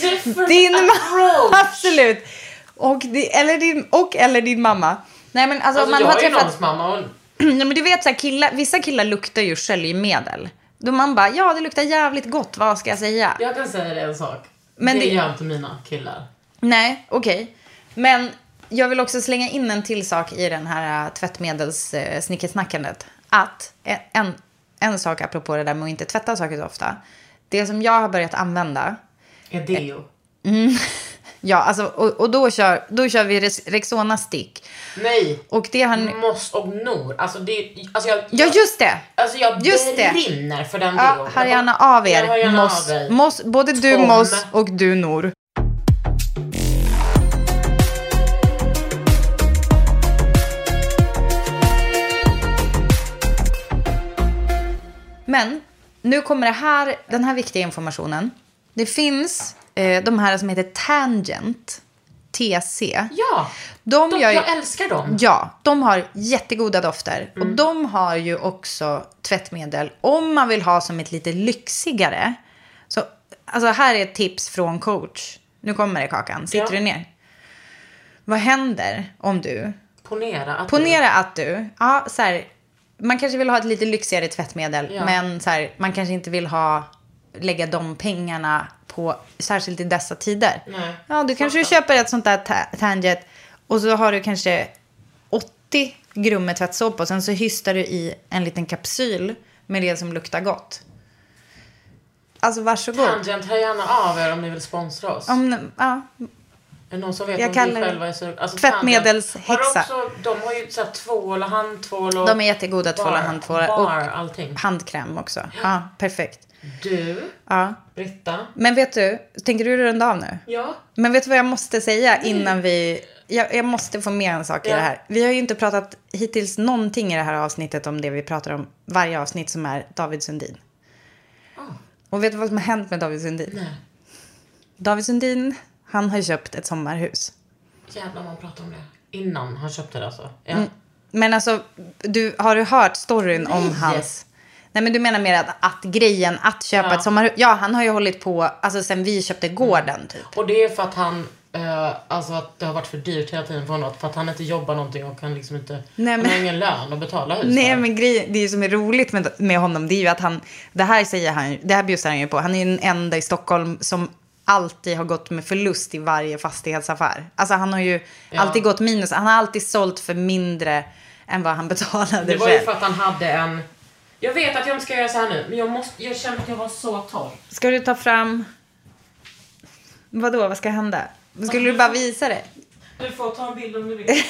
[SPEAKER 1] Different
[SPEAKER 2] din mamma. Alltså,
[SPEAKER 1] approach.
[SPEAKER 2] Absolut. Och, di- eller din, och eller din mamma. Nej men alltså,
[SPEAKER 1] Alltså,
[SPEAKER 2] man
[SPEAKER 1] jag
[SPEAKER 2] har
[SPEAKER 1] är
[SPEAKER 2] träffat...
[SPEAKER 1] någons mamma och
[SPEAKER 2] Nej, men du vet så här, killar, vissa killar luktar ju sköljmedel. Då man bara, ja det luktar jävligt gott, vad ska jag säga?
[SPEAKER 1] jag kan säga dig en sak.
[SPEAKER 2] Men
[SPEAKER 1] det,
[SPEAKER 2] det-
[SPEAKER 1] gör inte mina killar.
[SPEAKER 2] Nej, okej. Men jag vill också slänga in en till sak i den här äh, tvättmedelssnickesnackandet. Att en, en, en sak apropå det där med att inte tvätta saker så ofta. Det som jag har börjat använda
[SPEAKER 1] Är deo.
[SPEAKER 2] Ja, alltså, och, och då, kör, då kör vi Rex- Rexona stick.
[SPEAKER 1] Nej.
[SPEAKER 2] Och det har...
[SPEAKER 1] Moss och Nor. Alltså det alltså jag,
[SPEAKER 2] Ja, just det!
[SPEAKER 1] Alltså jag
[SPEAKER 2] just det.
[SPEAKER 1] brinner för den
[SPEAKER 2] Ja,
[SPEAKER 1] deon.
[SPEAKER 2] hör gärna av
[SPEAKER 1] Jag hör
[SPEAKER 2] er.
[SPEAKER 1] gärna
[SPEAKER 2] Moss,
[SPEAKER 1] av dig.
[SPEAKER 2] Moss, både du
[SPEAKER 1] Tom.
[SPEAKER 2] Moss och du Nor. Men nu kommer det här, den här viktiga informationen. Det finns eh, de här som heter Tangent, TC.
[SPEAKER 1] Ja.
[SPEAKER 2] De
[SPEAKER 1] De,
[SPEAKER 2] gör ju-
[SPEAKER 1] jag älskar dem.
[SPEAKER 2] Ja, de har jättegoda dofter. Och de har ju också tvättmedel om man vill ha som ett lite lyxigare. Så alltså här är ett tips från coach. Nu kommer det Kakan, sitter
[SPEAKER 1] Ja.
[SPEAKER 2] du ner? Vad händer om du
[SPEAKER 1] Ponera att
[SPEAKER 2] Ponera att du, ja, så här, man kanske vill ha ett lite lyxigare tvättmedel,
[SPEAKER 1] Ja.
[SPEAKER 2] men så här, man kanske inte vill ha, lägga de pengarna på, särskilt i dessa tider.
[SPEAKER 1] Nej,
[SPEAKER 2] ja, du kanske köper ett sånt där ta- Tanget och så har du kanske 80 grumme tvättsåpa och sen så hystar du i en liten kapsyl med det som luktar gott. Alltså varsågod.
[SPEAKER 1] Tangent, hör gärna av er om ni vill sponsra oss.
[SPEAKER 2] Om, ja,
[SPEAKER 1] Är det någon som vet
[SPEAKER 2] Jag
[SPEAKER 1] om
[SPEAKER 2] kallar
[SPEAKER 1] vi
[SPEAKER 2] det
[SPEAKER 1] själva är sugna? Alltså,
[SPEAKER 2] tvättmedelshäxa.
[SPEAKER 1] Tangent Har också, de har ju så här, tvål och handtvål och
[SPEAKER 2] de är jättegoda, tvåla,
[SPEAKER 1] bar-
[SPEAKER 2] handtvålar
[SPEAKER 1] Bar,
[SPEAKER 2] och
[SPEAKER 1] allting.
[SPEAKER 2] handkräm också. Ja, perfekt.
[SPEAKER 1] Du,
[SPEAKER 2] Ja.
[SPEAKER 1] Britta.
[SPEAKER 2] Men vet du, tänker du runda av nu?
[SPEAKER 1] Ja.
[SPEAKER 2] Men vet du vad jag måste säga innan vi... Jag, jag måste få med en sak i
[SPEAKER 1] Mm. Ja.
[SPEAKER 2] det här. Vi har ju inte pratat hittills någonting i det här avsnittet om det vi pratar om varje avsnitt som är David Sundin.
[SPEAKER 1] Ah.
[SPEAKER 2] Och vet du vad som har hänt med David Sundin?
[SPEAKER 1] Nej.
[SPEAKER 2] David Sundin, han har ju köpt ett sommarhus.
[SPEAKER 1] Jävlar man pratar om det. Innan han köpte det alltså. Ja.
[SPEAKER 2] Men alltså, du, har du hört storyn om hans... Nej men du menar mer att, att grejen att köpa ett sommarhus. Ja, han har ju hållit på, alltså sen vi köpte gården typ.
[SPEAKER 1] Mm. Och det är för att han, eh, alltså att det har varit för dyrt hela tiden för honom. För att han inte jobbar någonting och kan liksom inte,
[SPEAKER 2] Nej,
[SPEAKER 1] han
[SPEAKER 2] men-
[SPEAKER 1] har ingen lön att betala hus
[SPEAKER 2] Nej,
[SPEAKER 1] för.
[SPEAKER 2] men grejen, det är ju som är roligt med, med honom, det är ju att han, det här säger han, det här bjussar han ju på. Han är ju den enda i Stockholm som alltid har gått med förlust i varje fastighetsaffär. Alltså han har ju alltid gått minus, han har alltid sålt för mindre än vad han betalade
[SPEAKER 1] Det var ju
[SPEAKER 2] själv.
[SPEAKER 1] för att han hade en, jag vet att jag inte ska göra så här nu men jag måste, jag känner att jag var så torr.
[SPEAKER 2] Ska du ta fram, vadå, vad ska hända? Skulle du bara visa det?
[SPEAKER 1] Du får ta en bild om du vill.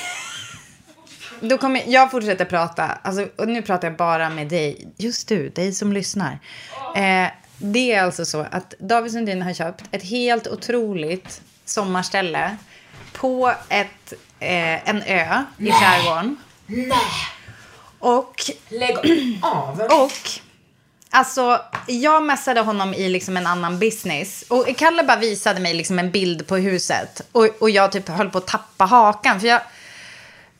[SPEAKER 2] Då kommer jag fortsätter prata. Alltså, och nu pratar jag bara med dig. Just du, dig som lyssnar. Eh, det är alltså så att David Sundin har köpt ett helt otroligt sommarställe på ett, eh, en ö i skärgården. Och
[SPEAKER 1] Lägg av.
[SPEAKER 2] och alltså, jag mässade honom i liksom en annan business. Och Kalle bara visade mig liksom en bild på huset. Och, och jag typ höll på att tappa hakan. För jag,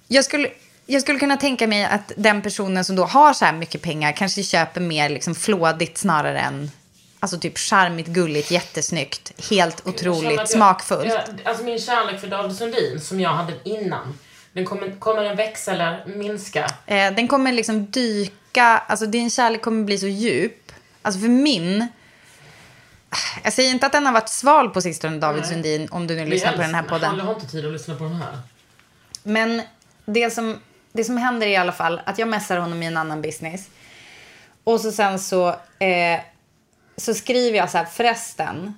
[SPEAKER 2] jag, skulle, jag skulle kunna tänka mig att den personen som då har så här mycket pengar kanske köper mer liksom flådigt snarare än Alltså typ charmigt, gulligt, jättesnyggt, helt
[SPEAKER 1] Jag känner
[SPEAKER 2] otroligt,
[SPEAKER 1] att jag-
[SPEAKER 2] smakfullt.
[SPEAKER 1] jag- Alltså min kärlek för David Sundin som jag hade innan. Den kommer, kommer den växa eller minska?
[SPEAKER 2] Eh, den kommer liksom dyka, alltså din kärlek kommer bli så djup. Alltså för min, jag säger inte att den har varit sval på sistone David Sundin om du nu lyssnar på den här podden.
[SPEAKER 1] Han har inte tid att lyssna på den här.
[SPEAKER 2] Men det som, det som händer är i alla fall att jag messar honom i en annan business. Och så sen så, eh, så skriver jag så här, förresten.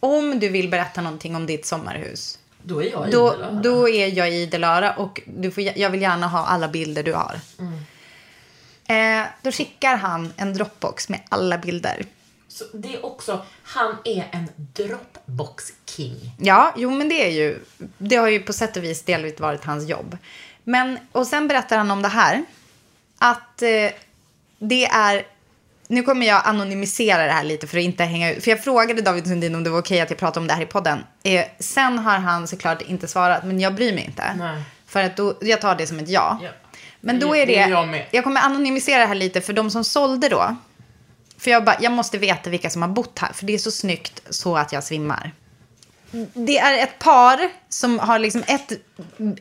[SPEAKER 2] Om du vill berätta någonting om ditt sommarhus.
[SPEAKER 1] Då är jag
[SPEAKER 2] Då,
[SPEAKER 1] idel, eller?
[SPEAKER 2] då är jag i idel öra och du får, jag vill gärna ha alla bilder du har.
[SPEAKER 1] Mm.
[SPEAKER 2] Eh, då skickar han en dropbox med alla bilder.
[SPEAKER 1] Så det är också, han är en dropbox king.
[SPEAKER 2] Ja, jo men det är ju, det har ju på sätt och vis delvis varit hans jobb. Men, och sen berättar han om det här, att eh, det är, nu kommer jag anonymisera det här lite för att inte hänga ut, för jag frågade David Sundin om det var okej att jag pratade om det här i podden. Eh, sen har han såklart inte svarat, men jag bryr mig inte.
[SPEAKER 1] Nej.
[SPEAKER 2] För att då, jag tar det som ett ja.
[SPEAKER 1] Ja.
[SPEAKER 2] Men då
[SPEAKER 1] Det-
[SPEAKER 2] är
[SPEAKER 1] det
[SPEAKER 2] det,
[SPEAKER 1] är jag med.
[SPEAKER 2] jag kommer anonymisera det här lite för de som sålde då. För jag bara, jag måste veta vilka som har bott här, för det är så snyggt så att jag svimmar. Det är ett par som har liksom ett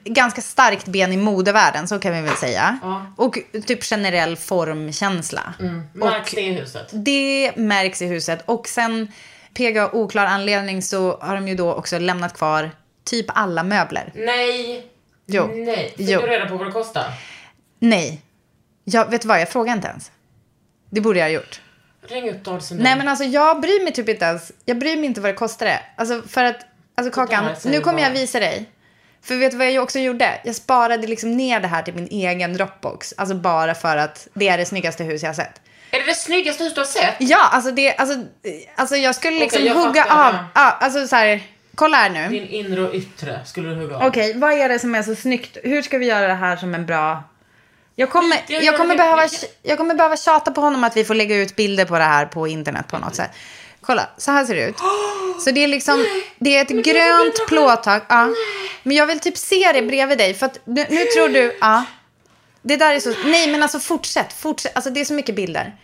[SPEAKER 2] ganska starkt ben i modevärlden, så kan vi väl säga.
[SPEAKER 1] Ja. Mm.
[SPEAKER 2] Och typ generell formkänsla.
[SPEAKER 1] Märks det i huset?
[SPEAKER 2] Det märks i huset. Och sen, PGA oklar anledning, så har de ju då också lämnat kvar typ alla möbler.
[SPEAKER 1] Nej.
[SPEAKER 2] Jo.
[SPEAKER 1] Nej. Fick
[SPEAKER 2] Jo.
[SPEAKER 1] du reda på vad det kostar?
[SPEAKER 2] Nej. Jag, vet du vad, jag frågar inte ens. Det borde jag ha gjort.
[SPEAKER 1] Ring upp David Sundin.
[SPEAKER 2] Nej men alltså jag bryr mig typ inte ens. Jag bryr mig inte vad det kostade. Alltså för att, alltså Kakan,
[SPEAKER 1] där säger
[SPEAKER 2] nu kommer jag
[SPEAKER 1] bara-
[SPEAKER 2] visa dig. För vet du vad jag också gjorde? Jag sparade liksom ner det här till min egen Dropbox. Alltså bara för att det är det snyggaste hus jag har sett.
[SPEAKER 1] Är det det snyggaste hus du har sett?
[SPEAKER 2] Ja, alltså det, alltså, eh, alltså jag skulle liksom
[SPEAKER 1] jag
[SPEAKER 2] hugga
[SPEAKER 1] fattar,
[SPEAKER 2] av.
[SPEAKER 1] ja.
[SPEAKER 2] Ja, alltså så här, kolla här nu.
[SPEAKER 1] Din inre och yttre skulle du hugga av.
[SPEAKER 2] Okej, vad är det som är så snyggt? Hur ska vi göra det här som en bra... Jag kommer,
[SPEAKER 1] Skit i att
[SPEAKER 2] jag, kommer
[SPEAKER 1] göra det.
[SPEAKER 2] behöva, jag kommer behöva tjata på honom att vi får lägga ut bilder på det här på internet på något sätt. Kolla, så här ser det ut. Så det är liksom, det är ett grönt plåttak. Ja. Men jag vill typ se det bredvid dig, för att nu, nu tror du, ja. Det där är så, nej men alltså fortsätt, fortsätt, alltså det är så mycket bilder.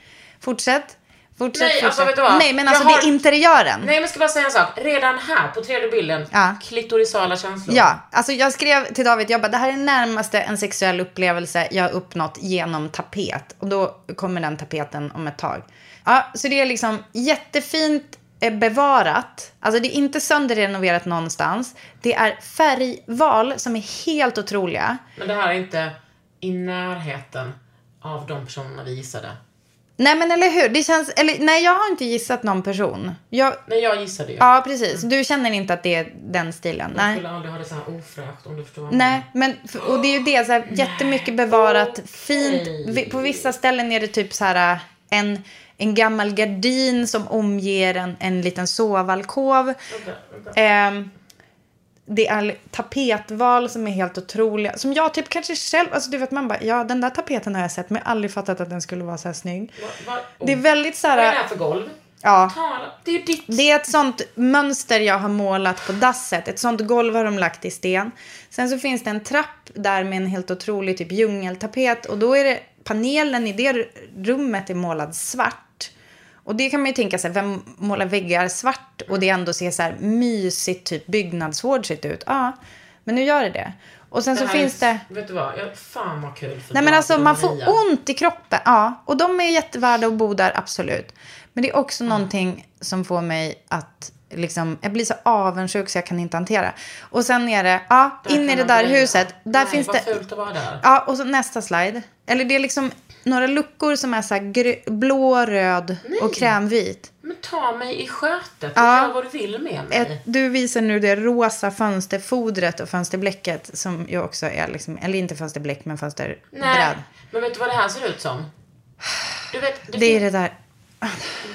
[SPEAKER 2] Fortsätt, fortsätt,
[SPEAKER 1] Nej,
[SPEAKER 2] fortsätt.
[SPEAKER 1] alltså, vet du vad?
[SPEAKER 2] Nej men
[SPEAKER 1] Jag
[SPEAKER 2] alltså det
[SPEAKER 1] har-
[SPEAKER 2] är interiören.
[SPEAKER 1] Nej men jag ska bara säga en sak. Redan här på tredje bilden,
[SPEAKER 2] Ja.
[SPEAKER 1] klitorisala känslor.
[SPEAKER 2] Ja, alltså jag skrev till David, jag bara, det här är närmaste en sexuell upplevelse jag har uppnått genom tapet. Och då kommer den tapeten om ett tag. Ja, så det är liksom jättefint eh, bevarat. Alltså det är inte sönderrenoverat någonstans. Det är färgval som är helt otroliga.
[SPEAKER 1] Men det här är inte i närheten av de personerna vi gissade.
[SPEAKER 2] Nej men eller hur, det känns, eller nej jag har inte gissat någon person. Jag,
[SPEAKER 1] Nej, jag gissade ju.
[SPEAKER 2] ja precis, du känner inte att det är den stilen?
[SPEAKER 1] Jag
[SPEAKER 2] Nej.
[SPEAKER 1] skulle aldrig ha det så här ofräscht om du förstår vad jag
[SPEAKER 2] Nej, men f- och det är ju det. Så här, jättemycket bevarat, fint. Vi- På vissa ställen är det typ så här äh, en, en gammal gardin som omger en, en liten sovalkov. Ehm, det är tapetval som är helt otroliga. Som jag typ kanske själv, alltså du vet man bara, ja den där tapeten har jag sett men jag har aldrig fattat att den skulle vara så här snygg.
[SPEAKER 1] menar. Va, va,
[SPEAKER 2] Det är väldigt så här,
[SPEAKER 1] Oh. Vad är det här för golv?
[SPEAKER 2] ja.
[SPEAKER 1] Tala, det är ju ditt.
[SPEAKER 2] Alltså, Det är ett sånt mönster jag har målat på dasset. Ett sånt golv har de lagt i sten. Sen så finns det en trapp där med en helt otrolig typ djungeltapet. Och då är det panelen i det rummet är målad svart. Och det kan man ju tänka sig, vem målar väggar svart och det ändå ser så här mysigt typ byggnadsvårdsigt ut? Ja, men nu gör det det. Och sen så
[SPEAKER 1] här
[SPEAKER 2] finns
[SPEAKER 1] är-
[SPEAKER 2] det...
[SPEAKER 1] Vet du vad? Jag, fan vad kul för
[SPEAKER 2] Nej men
[SPEAKER 1] David
[SPEAKER 2] alltså
[SPEAKER 1] och
[SPEAKER 2] man får
[SPEAKER 1] Maria.
[SPEAKER 2] ont i kroppen. Ja, och de är jättevärda att bo där, absolut. Men det är också
[SPEAKER 1] Mm.
[SPEAKER 2] någonting som får mig att liksom, jag blir så avundsjuk så jag kan inte hantera. Och sen är det, ja,
[SPEAKER 1] Där
[SPEAKER 2] in i
[SPEAKER 1] kan
[SPEAKER 2] det
[SPEAKER 1] man
[SPEAKER 2] där
[SPEAKER 1] gå in.
[SPEAKER 2] huset. Där
[SPEAKER 1] Nej,
[SPEAKER 2] finns
[SPEAKER 1] vad
[SPEAKER 2] det,
[SPEAKER 1] fult att vara där.
[SPEAKER 2] ja, och så nästa slide. Eller det är liksom några luckor som är så här grö- blå, röd och krämvit.
[SPEAKER 1] Men ta mig i skötet och
[SPEAKER 2] Ja.
[SPEAKER 1] gör vad du vill med mig.
[SPEAKER 2] Ett, du visar nu det rosa fönsterfodret och fönsterblecket som ju också är liksom, eller inte fönsterbläck men fönsterbräd.
[SPEAKER 1] Nej, men vet du vad det här ser ut som? Du vet, det
[SPEAKER 2] Det är
[SPEAKER 1] fin-
[SPEAKER 2] det där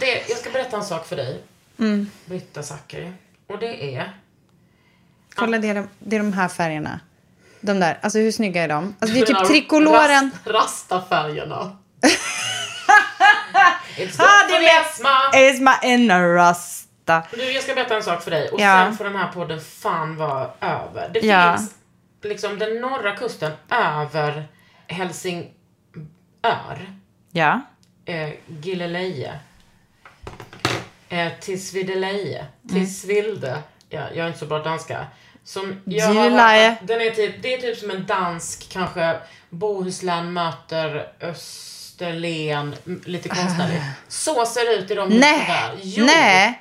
[SPEAKER 1] det, jag ska berätta en sak för dig.
[SPEAKER 2] Mm.
[SPEAKER 1] Britta Zackari. Och det är...
[SPEAKER 2] Kolla, det är, de, det är de här färgerna. De där. Alltså hur snygga är de? Alltså det är
[SPEAKER 1] Den här
[SPEAKER 2] typ trikoloren.
[SPEAKER 1] Rast, rastafärgerna. It's good
[SPEAKER 2] Ah,
[SPEAKER 1] for
[SPEAKER 2] det är
[SPEAKER 1] Esma.
[SPEAKER 2] med Esma Enarasta.
[SPEAKER 1] Du, jag ska berätta en sak för dig och
[SPEAKER 2] Ja.
[SPEAKER 1] sen får den här podden fan vara över. Det
[SPEAKER 2] Ja.
[SPEAKER 1] finns liksom den norra kusten över Helsingör,
[SPEAKER 2] Ja.
[SPEAKER 1] eh, Gilleleje. eh, Tisvideleje.
[SPEAKER 2] Mm.
[SPEAKER 1] Tisvilde. Ja, jag är inte så bra danska. Som jag
[SPEAKER 2] Gilleleje.
[SPEAKER 1] hört- den är typ, det är typ som en dansk kanske Bohuslän möter Österlen, m- lite konstnärligt. Så ser det ut i de husen
[SPEAKER 2] Ah. Nej,
[SPEAKER 1] där. Jo.
[SPEAKER 2] nej.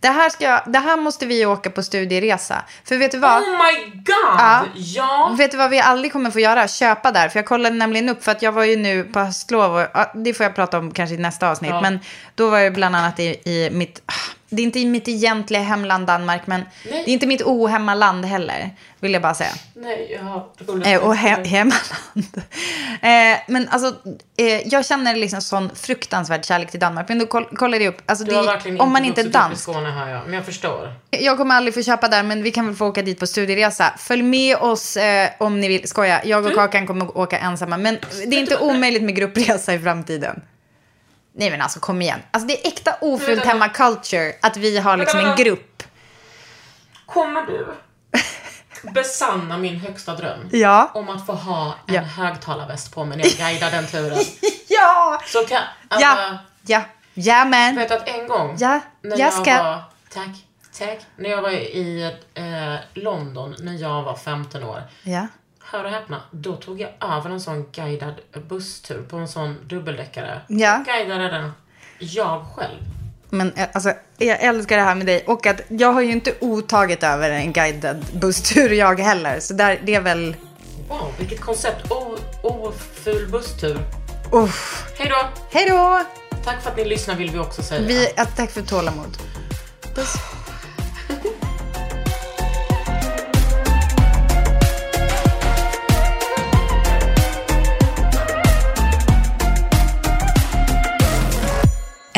[SPEAKER 2] Det här, ska, det här måste vi åka på studieresa. För vet du vad?
[SPEAKER 1] Oh my god!
[SPEAKER 2] Ja.
[SPEAKER 1] Ja. ja.
[SPEAKER 2] Vet du vad vi aldrig kommer få göra? Köpa där. För jag kollade nämligen upp, för att jag var ju nu på höstlov, och, ja, det får jag prata om kanske i nästa avsnitt.
[SPEAKER 1] Ja.
[SPEAKER 2] Men då var jag bland annat i, i mitt, ah, det är inte i mitt egentliga hemland Danmark, men
[SPEAKER 1] Nej.
[SPEAKER 2] det är inte mitt ohemmaland heller, vill jag bara säga.
[SPEAKER 1] Nej, ja. det kommer-
[SPEAKER 2] Eh, och he- hemmaland. Eh, men alltså, eh, jag känner liksom sån fruktansvärd kärlek till Danmark. Men då koll, kollade jag upp, alltså,
[SPEAKER 1] Du har
[SPEAKER 2] det,
[SPEAKER 1] verkligen
[SPEAKER 2] om man inte är
[SPEAKER 1] vuxit upp i
[SPEAKER 2] dansk.
[SPEAKER 1] Skåne här, ja. Men jag förstår.
[SPEAKER 2] Jag kommer aldrig få köpa där, men vi kan väl få åka dit på studieresa. Följ med oss eh, om ni vill. Skoja, jag
[SPEAKER 1] Mm.
[SPEAKER 2] och Kakan kommer att åka ensamma. Men det är inte omöjligt med gruppresa i framtiden. Nej men alltså kom igen. Alltså det är äkta ofult hemma culture att vi har liksom en
[SPEAKER 1] vänta.
[SPEAKER 2] grupp.
[SPEAKER 1] Kommer du besanna min högsta dröm?
[SPEAKER 2] Ja.
[SPEAKER 1] Om att få ha en
[SPEAKER 2] Ja.
[SPEAKER 1] högtalarväst på mig när jag guidar den turen.
[SPEAKER 2] Ja!
[SPEAKER 1] Så kan, alltså,
[SPEAKER 2] Ja! Ja! Jajamän!
[SPEAKER 1] Vet att en gång
[SPEAKER 2] Ja,
[SPEAKER 1] när
[SPEAKER 2] jag
[SPEAKER 1] jag
[SPEAKER 2] ska-
[SPEAKER 1] var, tack, tack, när jag var i eh, London när jag var 15 år.
[SPEAKER 2] Ja.
[SPEAKER 1] Hör och häpna, då tog jag över en sån guidad busstur på en sån dubbeldäckare.
[SPEAKER 2] Ja.
[SPEAKER 1] Guidade den jag själv.
[SPEAKER 2] Men eh, alltså, jag älskar det här med dig. Och att jag har ju inte otaget över en guided busstur jag heller. Så där, det är väl...
[SPEAKER 1] Wow, vilket koncept. O- Oful busstur.
[SPEAKER 2] Uff.
[SPEAKER 1] Hej då!
[SPEAKER 2] Hej då!
[SPEAKER 1] Tack för att ni lyssnar vill vi också säga.
[SPEAKER 2] Vi, ja, tack för tålamod.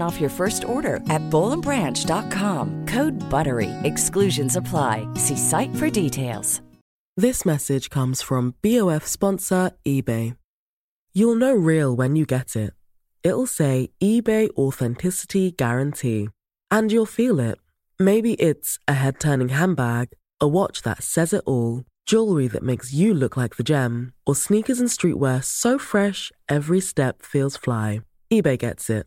[SPEAKER 5] 15% off your first order at bowlandbranch.com. Code BUTTERY. Exclusions apply. See site for details.
[SPEAKER 6] This message comes from BOF sponsor eBay. You'll know real when you get it. It'll say eBay Authenticity Guarantee. And you'll feel it. Maybe it's a head turning handbag, a watch that says it all, jewelry that makes you look like the gem, or sneakers and streetwear so fresh every step feels fly. eBay gets it.